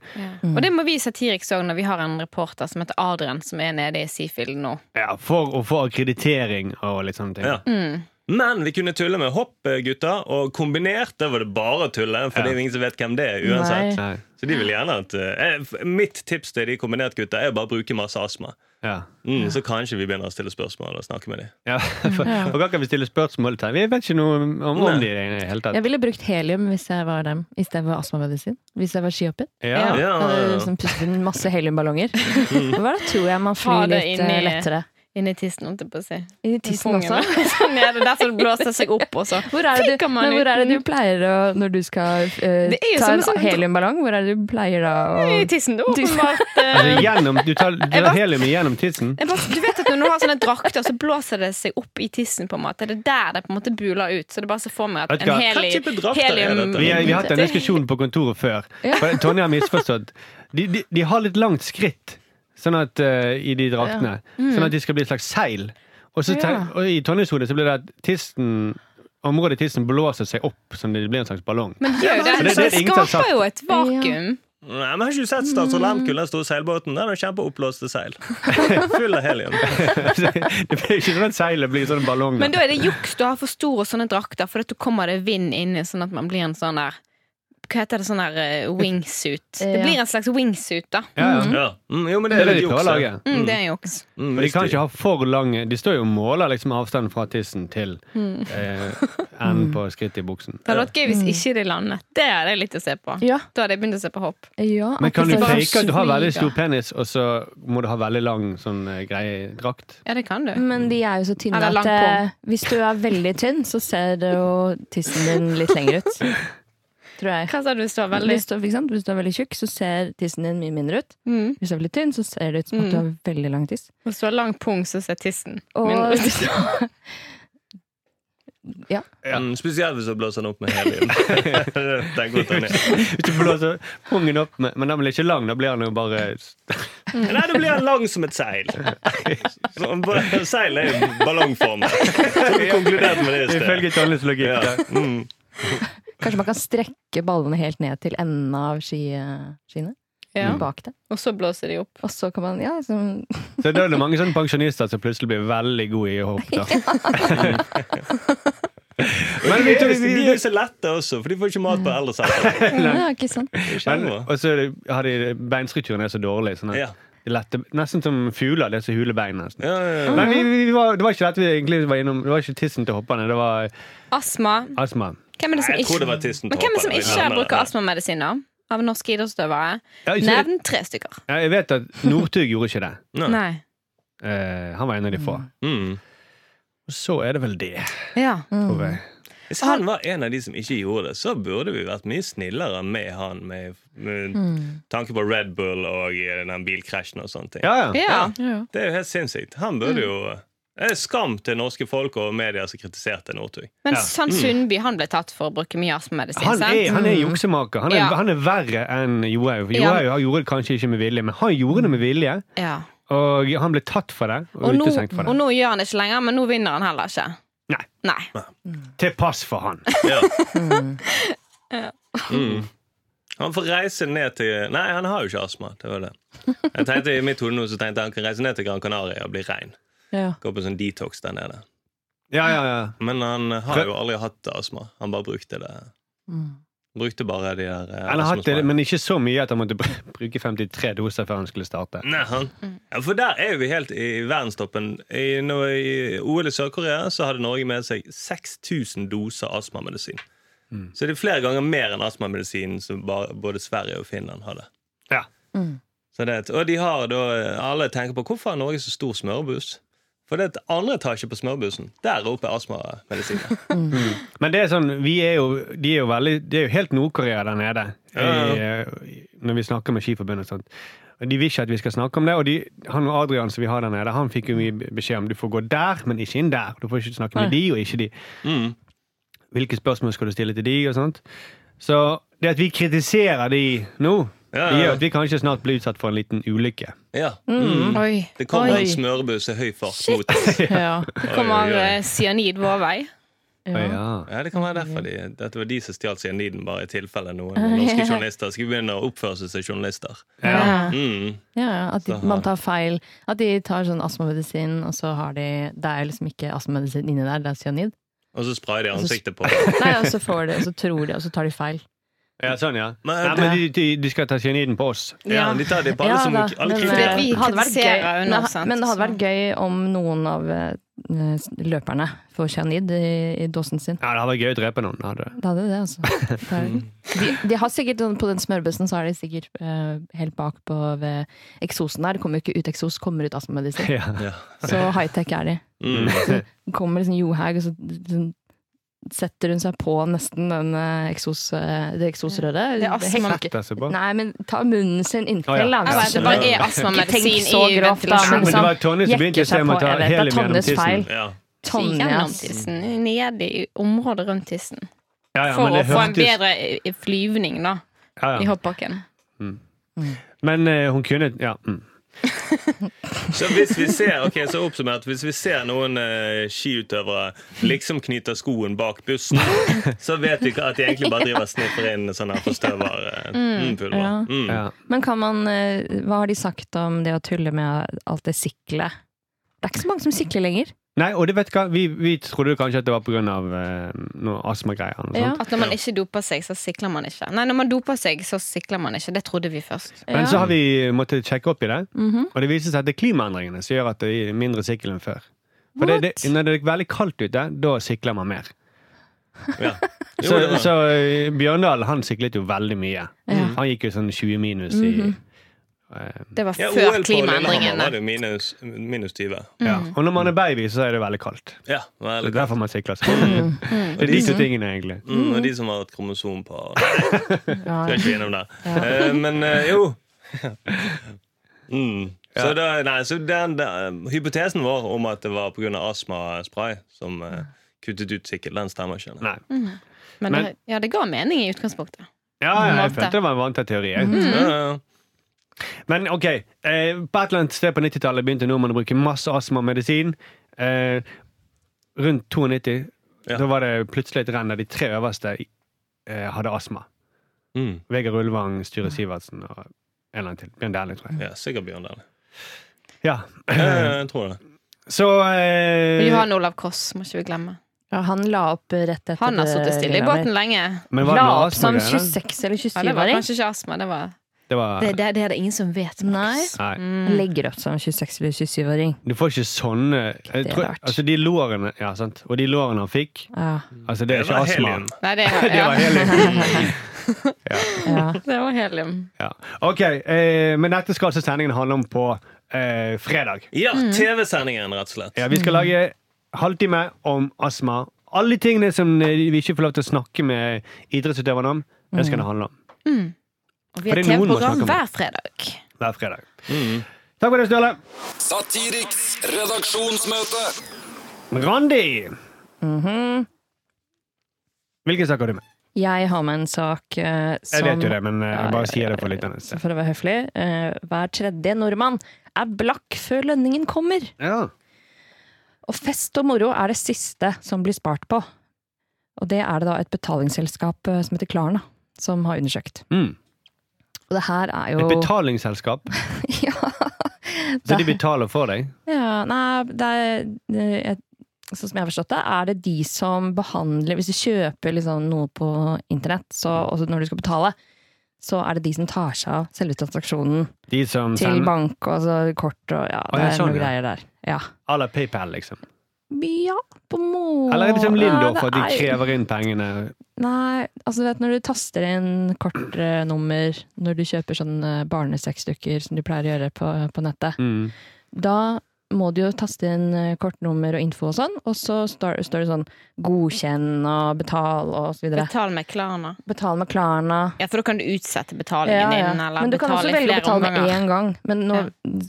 Og det må vi i Satiriks òg, når vi har en reporter som heter Adrian, som er nede i Seafield nå. Ja, for å få akkreditering og litt sånne ting. Ja. Men vi kunne tulle med hopp, eh, gutter, og kombinert det var det bare å tulle. For det er jo ingen som vet hvem det er, uansett. Nei. Så de vil gjerne at eh, eh, f- Mitt tips til de kombinert gutta er å bare bruke masse astma. Ja. Mm, så kanskje vi begynner å stille spørsmål og snakke med dem. Ja, (laughs) for, for hva kan vi stille spørsmål til? Vi vet ikke noe om, om Nei. de i det hele tatt. Jeg ville brukt helium hvis jeg var dem, istedenfor astmamedisin. Hvis jeg var skihopper. Ja. Ja. Jeg hadde liksom pustet inn masse heliumballonger. Hva da tror jeg man Ha flyr det litt inn eh, i- lettere? Inni tissen, holdt jeg på å si. I tissen Pungen. også? (laughs) Så nede, der som det blåser seg opp, og så Hvor er, det, Fikker du- man men hvor er det uten- du pleier å Når du skal eh, Det er jo ta som en en sånn- heliumballong, hvor er det du pleier da å I tissen, åpenbart. Altså, eh, gjennom, du tar, du Jeg tar vet- helium gjennom tissen? Jeg bare, du vet at når du har sånne drakter, så blåser det seg opp i tissen. på en måte Det er der det på en måte buler ut. Så det bare ser for meg Vet at du en hva? heli, Hva type drakter er helium dette? Vi, vi har hatt en diskusjon på kontoret før. For Tonje har misforstått. De, de, de har litt langt skritt sånn at, eh, i de draktene, Mm. sånn at de skal bli et slags seil. Og, så, Ja. tenk- og i Tonjes hode så blir det at tissen, området i tissen blåser seg opp, som det blir en slags ballong. (laughs) Men gjør det, det- det det er ingen som har sagt- skaper jo et vakuum. Nei, men Har ikke du sett Statsråd Lehmkuhl, den store seilbåten? Den er kjempeoppblåste (laughs) seil. Full av helium. Det blir ikke sånn at seilet blir sånn ballong. Men da er det juks du har for store sånne drakter, for at du kommer det vind inni, sånn at man blir en sånn der Hva heter det sånn der eh, wingsuit? Det Ja. blir en slags wingsuit, da. ja, ja. Ja. Mm, jo, men Det er det de litt prøver å juks, ja. lage. Mm, det er juks. Mm, Men de kan visst. ikke ha for lange De står jo og måler liksom avstanden fra tissen til Mm. eh, enden på skrittet i buksen. Det hadde vært gøy hvis ikke de landet. Det er det litt å se på. Ja. Da hadde jeg begynt å se på hopp. ja Men kan du Bare fake at du har veldig sviger. stor penis, og så må du ha veldig lang sånn eh, greie (laughs) drakt? Ja, det kan du. Men de er jo så tynne Eller lang at eh, hvis du er veldig tynn, så ser det jo tissen din litt lenger ut. Tror jeg. Hva sa du står veldig Hvis du, ikke sant? hvis du er veldig tjukk, så ser tissen din mye mindre ut. mm. Hvis du er veldig tynn, så ser det ut som at du har veldig lang tiss. Hvis du har lang pung, så ser tissen Og mindre ut. Mm, spesielt hvis du blåser den opp med (laughs) helium. (laughs) den går til ned. Hvis du blåser pungen opp med Men den blir ikke lang, da blir den jo bare (laughs) Nei, da blir den lang som et (laughs) seil. Så ba- Seil er jo ballongformet. (laughs) Så vi konkluderte med det i sted. Ifølge Tonjes logikk. Ja. da. Mm. Kanskje man kan strekke ballene helt ned til enden av ski- eh, skiene? Ja. Bak det. (laughs) Og så blåser de opp. Og så kan man Ja, sånn Så da er det mange sånne pensjonister som plutselig blir veldig gode i hopp. Da. (laughs) Men vi De tok, er jo så lette også, for de får ikke mat på eldresenteret. (laughs) (laughs) ja, ikke sant? Det er ikke men, noe. og så er det- har de beinstrukturen er så dårlig. Sånn at Ja. de lette, nesten som fugler. Det er så hule bein. nesten. Ja, ja, ja. Men vi, vi, vi var, det var ikke dette vi egentlig var innom. Det var ikke tissen til hopperne. Det var Astma. astma. Hvem er det som Nei, jeg tror det var ikke, tissen men hvem er det som til ikke hopperen. bruker astmamedisin, da? Av norske idrettsutøvere? Ja, ikke- Nevn tre stykker. Ja, jeg vet at Northug gjorde ikke det. Nei. Nei. Eh, han var en av de få. Mm. Og så er det vel det, Ja. tror Mm. jeg. Hvis han var en av de som ikke gjorde det, så burde vi vært mye snillere med han, med, med Hmm. tanke på Red Bull og eh, den bilkrasjen og sånne ting. Ja, ja. ja. Det er jo helt sinnssykt. Han Hmm. burde jo Det er skam til norske folk og media som kritiserte Northug. Men Ja. Sann Sundby han ble tatt for å bruke mye astmamedisin. Han er, sant? Mm. han er juksemaker. Han er, Ja. han er verre enn Johaug. Ja. Johaug han gjorde det kanskje ikke med vilje, men han gjorde det med vilje. Ja. Og han ble tatt for det, og, Og, nå, utestengt for og det. nå gjør han det ikke lenger, men nå vinner han heller ikke. Nei, Nei. til pass for han. Ja. Mm. Han får reise ned til Nei, han har jo ikke astma. Det var det. Jeg tenkte I mitt hode nå så tenkte jeg han kan reise ned til Gran Canaria og bli rein. Ja. Gå på sånn detox der nede. Ja, ja, ja. Men han har jo aldri hatt astma. Han bare brukte det. Mm. Brukte bare de der eh, Han har hatt det, astmasprayene. men ikke så mye at han måtte br- (laughs) bruke 53 doser før han skulle starte. Nei, han. Ja, for der er vi helt i verdenstoppen. I, nå, I OL i Sør-Korea så hadde Norge med seg 6000 doser astmamedisin. Så det er flere ganger mer enn astmamedisin som bare, både Sverige og Finland hadde. Ja. Så det, og de har da, alle tenker på hvorfor har Norge så stor smørbuss? For det er et andre etasje på smørbussen. Der oppe er astmamedisiner. Men det er sånn, vi er jo, de er jo veldig Det er jo helt Nord-Korea der nede, Ja, i, eh, når vi snakker med Skiforbundet og sånt. Og De vil ikke at vi skal snakke om det. Og de, han og Adrian som vi har der nede, han fikk jo mye beskjed om du får gå der, men ikke inn der. Du får ikke snakke med de og ikke de. Mm. Hvilke spørsmål skal du stille til de og sånt. Så det at vi kritiserer de nå, Ja, det ja. gjør at vi kanskje snart blir utsatt for en liten ulykke. Ja. Mm. Oi. Det kommer Oi. en smørbuss i høy fart mot oss. (laughs) Ja. Det kommer Oi, oi, oi. eh, cyanid vår vei. Å, ja. Ja, det kan være derfor de, dette var de som stjal cyaniden, bare i tilfelle noen norske journalister skulle begynne å oppføre seg som journalister. Ja. Mm. Ja, ja, at de, Så har- man tar feil. At de tar sånn astmamedisin, og så har de Det er liksom ikke astmamedisin inni der, det er cyanid. Og så sprayer de Og så- ansiktet på. Nei, og så får de, og så tror de, og så tar de feil. ja, sånn, ja. Men- Nei, men de, de, de skal ta cyaniden på oss. Ja, de tar det på alle Ja, som da, liksom alle men, kritikere. Fordi vi eh, hadde vært kritiserer gøy- jo nå, Nei, sant, Men det hadde så- vært gøy om noen av eh, løperne får cyanid i, i dåsen sin. Ja, Det hadde vært gøy å drepe noen. Hadde. det. Det hadde det, (laughs) altså. Det er- Mm. De, de har sikkert, sånn- på den smørbussen så er de sikkert eh, helt bak på ved eksosen der. Det kommer jo ikke ut eksos, kommer ut (laughs) astmamedisin. Ja. Ja. Så high-tech er de. Mm. Det kommer liksom Johaug, og så sånn, setter hun seg på nesten den eh, eksos, eh, det eksosrøret. Det er astma. Helt- Setter seg på. Nei, men ta munnen sin Å, inntil. ja. da. Jeg vet, det bare er Ikke astmamedisin tenk så i grovt, Ja, men da, det ventilasjon. liksom var Tonje som begynte i jekker sted seg med å på. ta Jeg vet, det er helium gjennom Tonjes tissen. feil. Ja. Tonje, Gjennom ass. tissen, ned i området rundt tissen. Ja, ja, For men å det få en hørtes- bedre eh, flyvning, da, ja, i ja. hoppbakken. Men eh, hun kunne Ja. Mm. Så hvis vi ser ok, så oppsummert, hvis vi ser noen eh, skiutøvere liksom knyter skoen bak bussen, så vet vi ikke at de egentlig bare driver og sniffer inn sånn her forstøver eh, mm, pulver. Ja. Mm. Ja. Men kan man, eh, hva har de sagt om det å tulle med alt det siklet? Det er ikke så mange som sikler lenger. Nei, og det vet du hva, vi, vi trodde jo kanskje at det var pga. Eh, noe astmagreier. eller noe Ja. sånt. At når man ikke doper seg, så sikler man ikke. Nei, når man doper seg, så sikler man ikke. Det trodde vi først. Men Ja. så har vi måttet sjekke opp i det, Mhm. og det viser seg at det er klimaendringene som gjør at det er mindre sikkel enn før. For det, det, What? når det er veldig kaldt ute, da sikler man mer. Ja. Jo, Så, det var- så eh, Bjørndal han siklet jo veldig mye. Ja. Han gikk jo sånn 20 minus i eh, Det var Ja, før OL på Lillehammer klimaendringene. var det jo minus, minus 20. ja. Og når man er baby, så er det veldig kaldt. Ja, Det veldig er godt. derfor man sikler seg. (laughs) Det er de to tingene, egentlig. Mm, og de som har et kromosompar. Ja. Vi er ikke innom det. Eh, men eh, jo. Mm. Så, da, nei, så den, den, hypotesen vår om at det var pga. astmaspray som eh, kuttet ut sikkel, den stemmer ikke. Nei. Men Men- det, ja, det ga mening i utgangspunktet. Ja, ja, jeg Vant det. følte det var en vanntett teori. Jeg. Ja, ja, ja. Men ok, eh, på et eller annet sted på 90-tallet begynte nordmenn å bruke masse astmamedisin. Eh, rundt 92 Ja. da var det plutselig et renn der de tre øverste eh, hadde astma. Mm. Vegard Ulvang, Sture Sivertsen og en eller annen til. Bjørn Dæhlie, tror jeg. ja sikkert Bjørn Dæhlie. (laughs) Ja. (clears throat) Ja, ja, jeg tror det. Så Men eh, Johan Olav Koss må ikke vi glemme. Ja, han la opp eh, rett etter Han har sittet stille i båten lenge. Men var det La noe opp som astmagreier? 26- Ja, eller det var 27-åring. kanskje ikke astma. Det, var, Mm. Det var det, det, det er det ingen som vet. Nei. Nei. Legger opp som 26- eller 27-åring. Du får ikke sånne jeg Det er tror, rart. Altså, de lårene Ja, sant. Og de lårene han fikk Ja, Altså, det er Det ikke var astma. helium. Nei, det, (laughs) Det var ja, (laughs) helium. Mm. (laughs) ja. det var helium. Ja. Ok, eh, men dette skal altså sendingen handle om på eh, fredag. Ja, TV-sendingen, rett og slett. Ja, vi Mm. skal lage halvtime om astma. Alle de tingene som eh, vi ikke får lov til å snakke med idrettsutøverne om, det Mm. skal det handle om Og vi For har det er noen må snakke TV-program om det. hver fredag. hver fredag. Mm. Takk for det, Støle. Satiriks redaksjonsmøte. Randi! Hvilken sak har du med? Mhm. Jeg har med en sak eh, som Jeg vet jo det, men eh, jeg Ja, bare ja, sier det ja, for lytterne. Så for å være høflig, eh, hver tredje nordmann er blakk før lønningen kommer. Ja. Og fest og moro er det siste som blir spart på. Og det er det da et betalingsselskap eh, som heter Klarna, som har undersøkt. Mm. Og det her er jo Et betalingsselskap. (laughs) ja, Så de det, betaler for deg? ja, Nei, det er det er- Sånn som jeg har forstått det, er det de som behandler Hvis du kjøper liksom noe på internett, så, også når du skal betale, så er det de som tar seg av selve transaksjonen De som til sender bank og altså, kort og ja, Å, det ja, er sånn, noen ja. greier der. Ja. à la PayPal, liksom? ja, på må... Eller er det som Nei, Lindor, det for at de er- krever inn pengene? Nei, altså du vet når du taster inn kortnummer når du kjøper sånne barnesexdukker som du pleier å gjøre på, på nettet, Mm. da må du jo taste inn eh, kortnummer og info og sånn, og så står, står det sånn 'godkjenn' og 'betal' og så videre. Betal med Klarna. Betal med Klarna. Ja, for da kan du utsette Ja, betalingen ja. din, eller Men du kan også betale i velge å flere betale med omganger. én gang. Men nå,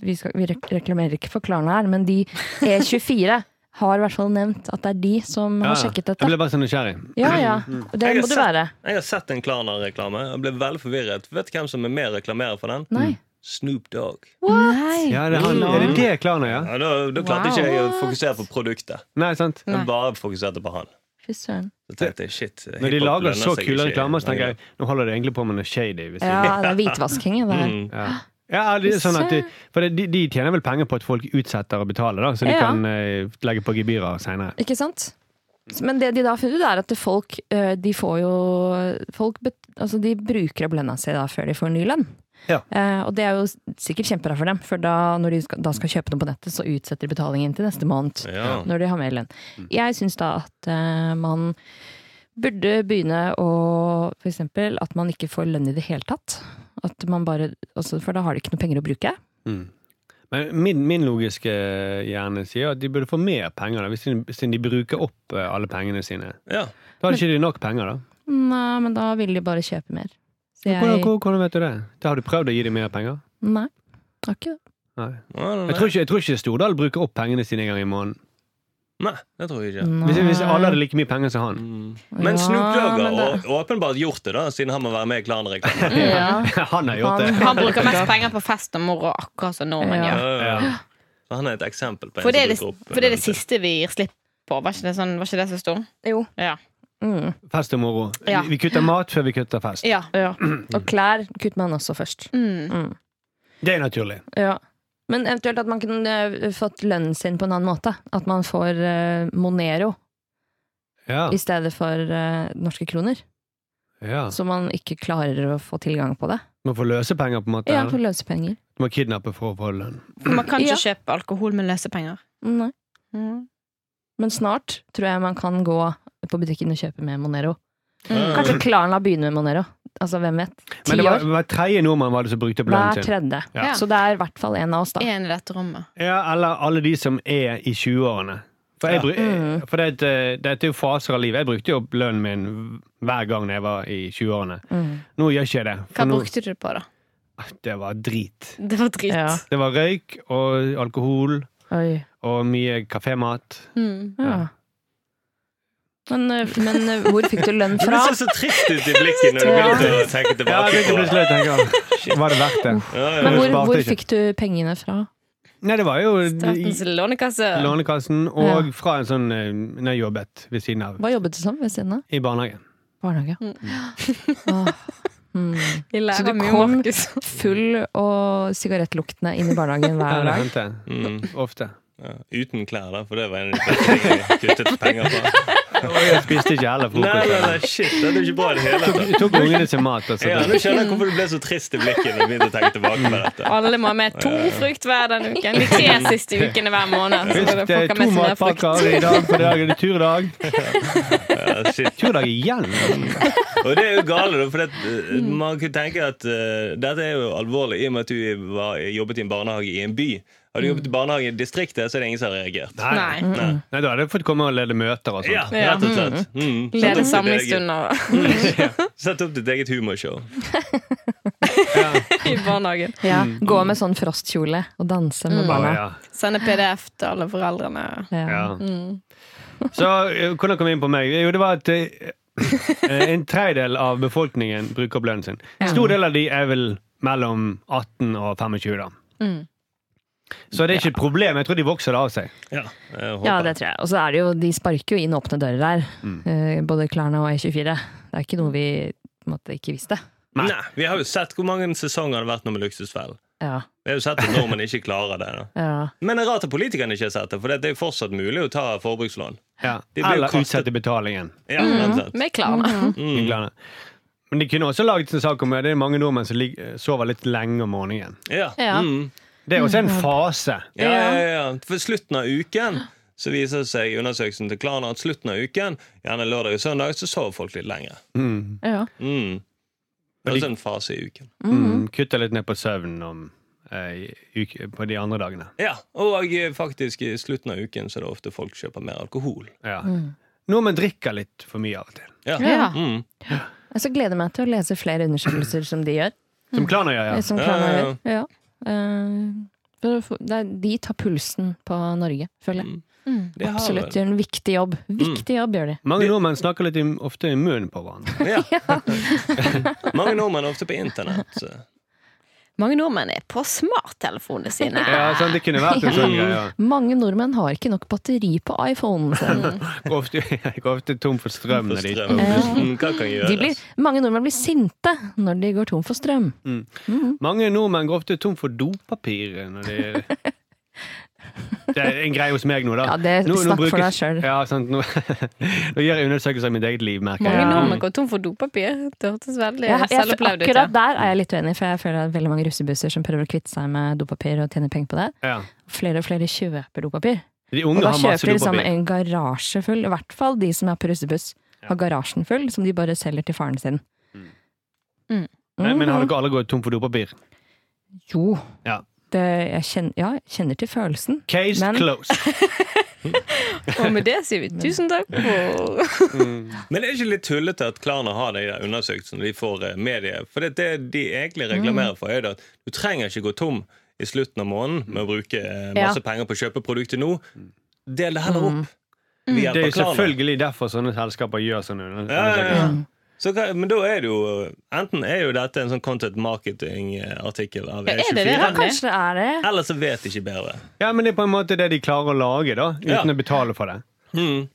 vi, skal, vi rek- reklamerer ikke for Klarna her, men de E24 har i hvert fall nevnt at det er de som Ja, har ja. sjekket Jeg Mm. dette. ble bare så nysgjerrig. Ja, ja. Og Det Jeg har må du sett- være. Jeg har sett en Klarna-reklame. Jeg ble veldig forvirret. Vet du hvem som er med og reklamerer for den? Mm. Nei. Snoop Dogg. Nei. Ja, det er, han, er det det Klarna, ja? Ja, da, da klarte Wow. ikke jeg å fokusere på produktet. Nei, sant? Jeg Nei. bare fokuserte på han. Fy søren. Så tenkte jeg, shit Når de lager så kule reklamer, så tenker jeg nå holder de egentlig på med noe shady. Hvis de- Ja, det er hvitvasking. Det er. Mm. ja. Ja, det er sånn at de, for de, de tjener vel penger på at folk utsetter å betale, da, så de Ja. kan eh, legge på gebyrer seinere. Ikke sant? Men det de da har funnet, ut, er at folk eh, de får jo folk, bet- altså De bruker opp lønna si da før de får ny lønn. Ja. Eh, og det er jo s- sikkert kjempebra for dem, for da, når de skal, da skal kjøpe noe på nettet, så utsetter de betalingen til neste måned. Ja. Når de har mer lønn. Jeg syns da at eh, man burde begynne å For eksempel at man ikke får lønn i det hele tatt. At man bare, altså, for da har de ikke noe penger å bruke. Men min, min logiske hjerne sier at de burde få mer penger, da, hvis de, siden de bruker opp eh, alle pengene sine. Ja. Da har ikke de nok penger, da. Nei, men da vil de bare kjøpe mer. Så Hvordan, hvordan- hvordan vet du det? Da har du prøvd å gi dem mer penger? Nei. Det var ikke det. Nei. Ja, nei, Jeg tror ikke, jeg tror ikke Stordal bruker opp pengene sine en gang i måneden. Nei, det tror jeg ikke. Hvis, hvis alle hadde like mye penger som han. Men Ja, Snoop Dogg men har det- å- åpenbart gjort det, da siden han må være med i (laughs) klanreklamen. Ja. (laughs) Han har gjort det. Mm. Han bruker mest penger på fest og moro, akkurat som nordmenn Ja. gjør. Ja. Ja. Så Han er et eksempel på en For det, er det, som dukker opp. for det er det siste vi gir slipp på. Var ikke det, sånn, var ikke det så stor? Jo. Ja. Mm. Fest og moro. Ja. Vi kutter mat før vi kutter fest. ja. ja. Og klær kutter man også først. Mm. Mm. Det er naturlig. Ja. Men eventuelt at man kunne eh, fått lønnen sin på en annen måte. At man får eh, Monero Ja. i stedet for eh, norske kroner. ja. Så man ikke klarer å få tilgang på det. Man får løsepenger, på en måte. Ja, eller? for løsepenger. Du må kidnappe for å få lønn. For man kan ikke Ja. kjøpe alkohol med løsepenger. Nei. Mm. Men snart tror jeg man kan gå på butikken og kjøpe med Monero. Ja. Kanskje Klaren la begynne med Monero. Altså, hvem vet? Mm. Ti Men det var, år. hver tredje nordmann var det som brukte opp Hver lønnen sin. tredje. Ja. Så det er i hvert fall en av oss, da. En i dette rommet. Ja, eller alle de som er i 20-årene. For, jeg, Ja. bru- Mm. for det, er et, eh, dette er jo faser av livet. Jeg brukte jo opp lønnen min hver gang jeg var i 20-årene. Mm. Nå gjør ikke jeg det. Hva nå, Ah, brukte du det på, da? det var drit. Det var drit. Ja. Det var røyk og alkohol Oi. og mye kafémat. Mm. Ja. Men, eh, men eh, hvor fikk du lønn Du fra? ser så trist ut i blikket når du begynner å tenke Ja, jeg begynte tilbake på det. plutselig å (laughs) tenke "Shit, Var det verdt det? Ja, ja. Men hvor, Sparte hvor ikke. fikk du pengene fra? Nei, det var jo Statens i lånekasse. Lånekassen og fra en sånn eh, Når jeg jobbet ved siden av. Hva jobbet du som ved siden av? Mm. I barnehagen. Barnehage. Åh. Mm. Vi Så lærer du mye om kom Markus. full og sigarettluktende inn i (laughs) barnehagen Ja, hver det dag. hendte Mm. ofte. Ja, uten klær, da, for det var en av de første tingene jeg kuttet penger på. Og jeg spiste ikke heller (laughs) Nei, frokost. nei, nei, shit, det er jo ikke bra i det hele tatt. Jeg tok ungene sin mat. Altså. Ja, nå skjønner jeg hvorfor du ble så trist i blikket når du begynte å tenke tilbake på dette. (laughs) Alle må ha med to frukt hver den uken. De tre (laughs) siste ukene hver måned. Så Husk folk det har er to med seg mer frukt. matpakker i dag, for i dag er det turdag. Ja, shit. Turdag igjen! Og det er jo gale, da, for det, eh, man kunne tenke at eh, dette er jo alvorlig i og med at du var, jobbet i en barnehage i en by. Har du jobbet i barnehage i distriktet, så er det ingen som har reagert. Nei. Mm. Nei. Mm. Nei, da hadde jeg fått komme og lede møter og Ja, sånt. rett og slett. Mm. Sett Lede opp ditt (laughs) eget- samlingsstunder Sett opp ditt eget humorshow. (laughs) i barnehagen. Ja, gå med sånn frostkjole og danse med Å, barna. ja. Sende PDF til alle foreldrene. Ja. Mm. Ja. Mm. Så eh, hvordan kom jeg inn på meg? Jo, det var at eh, en tredjedel av befolkningen bruker opp lønnen sin. En stor del av de er vel mellom 18 og 25, da. Mm. Så det er ikke et problem. Jeg tror de vokser det av seg. Ja, jeg håper. Ja, det tror jeg. Og så er det jo, de sparker jo inn åpne dører her. Eh, Både Klarna og E24. Det er ikke noe vi på en måte ikke visste. Nei, vi har jo sett hvor mange sesonger det har vært noe med Luksusfellen. Ja, Vi har jo sett at nordmenn ikke klarer det. Da. ja. Men det er rart at politikerne ikke har sett det, for det er jo fortsatt mulig å ta forbrukslån. Ja. De blir Eller kastet- utsette betalingen. Ja, rett og slett. Med Klarna. Mm. Glad i det. Men de kunne også laget en sak om det. Det er mange nordmenn som lig- sover litt lenge om morgenen. Ja. Ja. Mm. Det er også en fase. Ja, ja, ja. For slutten av uken så viser det seg i undersøkelsen til Klarna at slutten av uken, gjerne lørdag og søndag, så sover folk litt lenger. Mm. ja. Mm. Det er også en fase i uken. Mm. Kutter litt ned på søvnen om, eh, uke, på de andre dagene. Ja, Og eh, faktisk i slutten av uken så er det ofte folk kjøper mer alkohol. Ja. Mm. Nordmenn drikker litt for mye av og til. Ja. Ah, Ja. Mm. Jeg så gleder jeg meg til å lese flere undersøkelser som de gjør. Som Klarna gjør, ja. Som Ja, Klarna ja, gjør. sånn Ja. Eh, for å få- det er- De tar pulsen på Norge, føler jeg. Det Mm, har Absolutt. vel- Gjør en viktig jobb. Viktig jobb gjør de. Mange nordmenn snakker litt i, ofte i munnen på hverandre. Ja. (laughs) Mange nordmenn er ofte på internett. eh, så- Mange nordmenn er på smarttelefonene sine. Ja, sånn, Det kunne (laughs) vært en sånn greie. Mange nordmenn har ikke nok batteri på iPhonen sin. (laughs) Går ofte, (laughs) jeg går ofte tom for strøm. For når de- strøm. Mm, Hva kan gjøres? De blir, mange nordmenn blir sinte når de går tom for strøm. Mange nordmenn går ofte tom for dopapir når de (laughs) Det er en greie hos meg nå, da. Ja, det er nå, snakk for brukes- deg selv. Ja, sant. Nå, (laughs) nå gjør jeg undersøkelser i mitt eget liv, merker Mange jeg. Mm. Ja. nordmenn går tom for dopapir. Det hørtes veldig Jeg, jeg, selvopplevd ut. akkurat Ja. der er jeg litt uenig, for jeg føler at veldig mange russebusser som prøver å kvitte seg med dopapir og tjene penger på det. Ja. Flere og flere kjøper dopapir. De Og unge da har masse kjøper de liksom dopapir. en garasje full, i hvert fall de som er på russebuss, har garasjen full, som de bare selger til faren sin. Mm. Mm. Nei, Men har dere alle gått tom for dopapir? Jo, Ja. det, jeg kjenner, ja, jeg kjenner til følelsen. Case (laughs) Men- closed. Og med det sier vi tusen takk for Men det er ikke litt tullete at Klarna har de der undersøkelsene de får eh, medie? For det, det de egentlig reklamerer for, er det at du trenger ikke gå tom Mm. i slutten av måneden med å bruke eh, masse penger på å kjøpe produktet nå. Del det heller opp. ved Det er hjelp jo av klaner. selvfølgelig derfor sånne selskaper gjør sånn. under- Ja, ja, ja. Mm. Så, hva- men da er det jo eh, Enten er jo dette en sånn content marketing-artikkel av Ja, er det det? Ja, E24, kanskje det er det. eller så vet de ikke bedre. Ja, men det er på en måte det de klarer å lage, da. Uten Ja. å betale for det. Mm.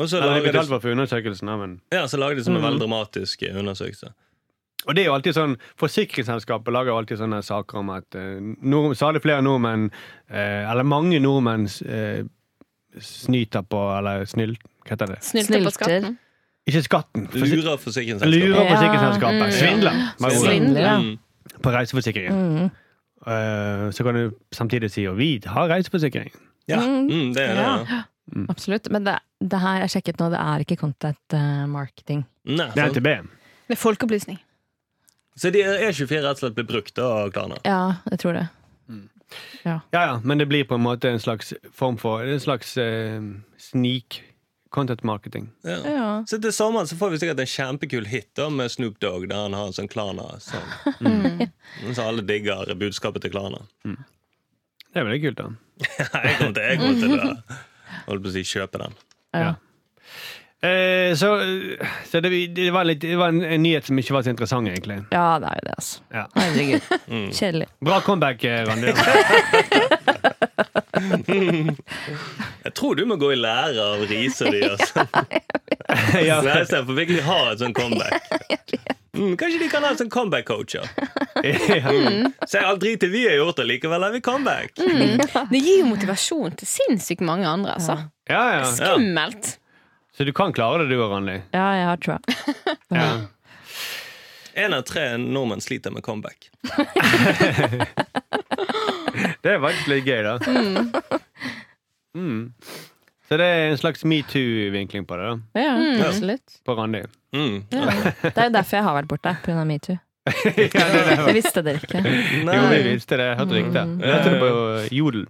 Og så Eller de lager betalte de, for undersøkelsen, da, men ja, så lager de som en Mm. veldig dramatisk eh, undersøkelse. Og det er jo alltid sånn, Forsikringsselskapet lager jo alltid sånne saker om at eh, nord, stadig flere nordmenn, eh, eller mange nordmenn, eh, snyter på Eller snyl... Hva heter det? Snylte på Snylter. skatten. Ikke skatten! forsi- Lurer forsikringsselskapet. Lurer Ja. forsikringsselskapet. Svindler! med andre ord. Svindler. Mm. På reiseforsikringen. Eh, så kan du samtidig si at vi har reiseforsikring. Ja. Mm, det er det. Ja. Mm. Absolutt. Men det, det her er sjekket nå, det er ikke content eh, marketing. Nei, Det er sant. NTB. Det er folkeopplysning. Så de E24 rett og slett blir brukt av Klarna. Ja, jeg tror det. Ja, ja, men det blir på en måte en slags form for En slags eh, sneak content marketing. Ja. Ja. Så til sommeren så får vi sikkert en kjempekul hit da med Snoop Dogg, der han har en sånn Klarna-sang. Mm. Så alle digger budskapet til Klarna. Det er veldig kult, da. (laughs) Jeg kommer til, jeg kommer til å holdt på å si, kjøpe den. Ja. Eh, så så det, det var, litt, det var en, en nyhet som ikke var så interessant, egentlig. ja, det er jo det, altså. Ja. (laughs) Herregud. Mm. Kjedelig. Bra comeback, eh, (laughs) Randi. Jeg tror du må gå i lære av Riise de, altså. (laughs) ja, Nei, se, for virkelig ha et sånn comeback. Mm, kanskje de kan ha en sånn comeback-coacher. ja. Mm. Se, all driten vi har gjort, allikevel er vi comeback. (laughs) Det gir jo motivasjon til sinnssykt mange andre, altså. ja, ja. Skummelt. Så du kan klare det, du og Randi. Ja, jeg har troa. Ja. En av tre nordmenn sliter med comeback. Det er faktisk litt gøy, da. Mm. Så det er en slags metoo-vinkling på det, da. Ja, Mm. absolutt. På Randi. Mm. Mm. Det er jo derfor jeg har vært borte, pga. metoo. (laughs) Det visste dere ikke. Jo, vi Nei, visste det. Jeg hørte rykte. Jeg hørte det på Jodel.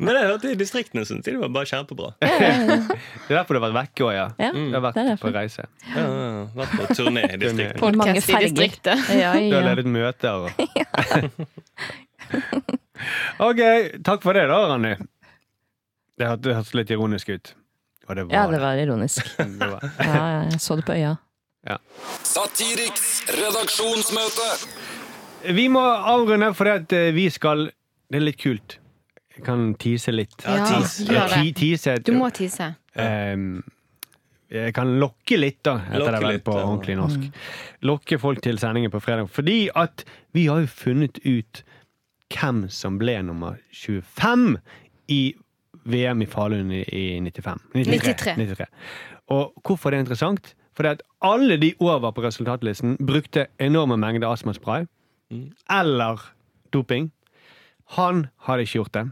men jeg hørte i distriktene syntes de det var bare kjempebra. Ja, Det er derfor du har vært vekke òg, ja. Ja, Du har det er vært derfor. på reise. ja, ja. Vært på turné i distriktene. Mange Podkast i farger. distriktet. Ja, Du har ja. ledet møter og (laughs) Ok, takk for det da, Randi. Det hørte- det hørtes litt ironisk ut. Og det var ja, det var (laughs) ironisk. det. Det var. Ja, ja, jeg så det på øya. Satiriks redaksjonsmøte. Vi må avrunde, for det at eh, vi skal Det er litt kult. Jeg kan tease litt. Ja, Ja, tis. gjør det. Ti- tease et- Du må tisse. Ehm, jeg kan lokke litt, da, heter Lokke det vel litt, på ja. ordentlig norsk. Mm. Lokke folk til sendingen på fredag. Fordi at vi har jo funnet ut hvem som ble nummer 25 i VM i Falun i i 95. 93. 93. Og hvorfor det er interessant? Fordi at alle de over på resultatlisten brukte enorme mengder astmaspray eller doping. Han hadde ikke gjort det.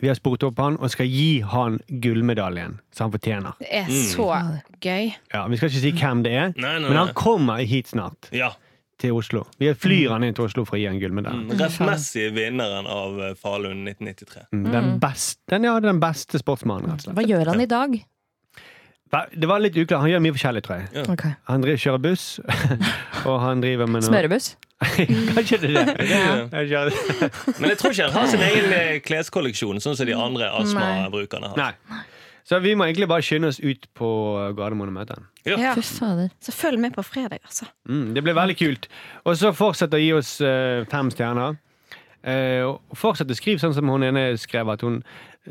Vi har spurt opp han og skal gi han gullmedaljen som han fortjener. Det er så gøy. Ja, vi skal ikke si hvem det er, Nei, nei, men han nei. kommer hit snart Ja. til Oslo. Vi flyr han inn til Oslo for å gi han gullmedaljen. Den rettmessige vinneren av eh, Falun 1993. Den beste, den, ja, den beste sportsmannen, rett og slett. Hva gjør han i dag? Hva- Det var litt uklart. Han gjør mye forskjellig, tror jeg. Ok. Han driver, kjører buss, (laughs) og han driver med noe Smørebuss? (laughs) Kanskje det er det. Ja. Han kjører- (laughs) Men jeg tror ikke han har sin egen eh, kleskolleksjon, sånn som de andre astmabrukerne har. Nei. Så vi må egentlig bare skynde oss ut på Gardermoen og møte han. Ja. Fy fader. Så følg med på fredag, altså. Mm, det blir veldig kult. Og så fortsett å gi oss eh, fem stjerner. Eh, og fortsett å skrive sånn som hun ene skrev, at hun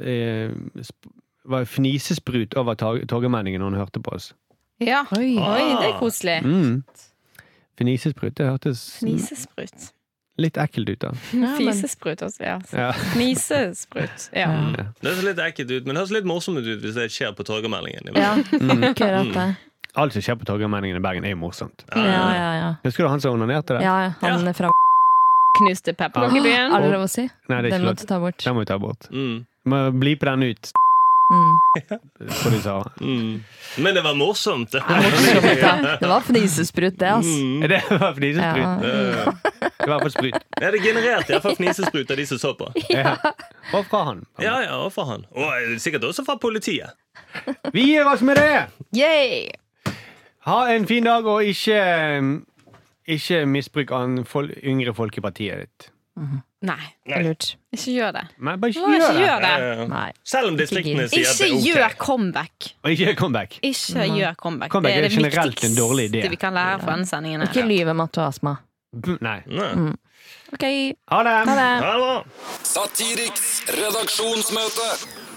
eh, sp var fnisesprut over tar- torgallmenningen når hun hørte på oss. Ja. Oi. Oi, Ah. det er koselig. Mm. Fnisesprut, det hørtes Fnisesprut. litt ekkelt ut, da. Ja, men- Fisesprut også, ja. Ja. Fnisesprut. Ja. Det ser litt ekkelt ut, men det høres litt morsomt ut hvis det skjer på Torgallmeldingen. Ja, akkurat det. Mm. Alt som skjer på torgallmenningen i Bergen, er jo morsomt. Mm. Ja, ja, ja. Husker du han som onanerte der? ja han fra Knuste pepperkakebyen. Er det lov å si? Nei, det er Den ikke lov. måtte ta bort. Den må vi ta bort. Mm, Må blipe den ut, Mm. som de sa. mm. Men det var morsomt! Mm. Det (laughs) Morsomt, (laughs) ja. Det var fnisesprut, det, (laughs) altså. Det var fnisesprut. Eh, (laughs) Det var for sprut. Ja, det genererte iallfall fnisesprut av de som så på. Ja. Og fra han. Ja, ja, og fra han. Og eh, sikkert også fra politiet. Vi gir oss med det! Yay! Ha en fin dag, og ikke Ikke misbruk an fol yngre folk i partiet ditt. Nei, Nei. Lurt. ikke gjør det. Nei, bare Åh, ikke gjør det! gjør det. Eh, Nei. Selv om distriktene sier Eh, at Ikke det er ok. gjør comeback. Og ikke comeback. Ikke gjør Mm. comeback. Comeback det er er det generelt en dårlig idé. viktigste vi kan lære fra denne sendingen. Ikke Her. lyv om at du har astma. Nei. Nei. Ha Ok, det! ha det. Ja, det var- Satiriks redaksjonsmøte.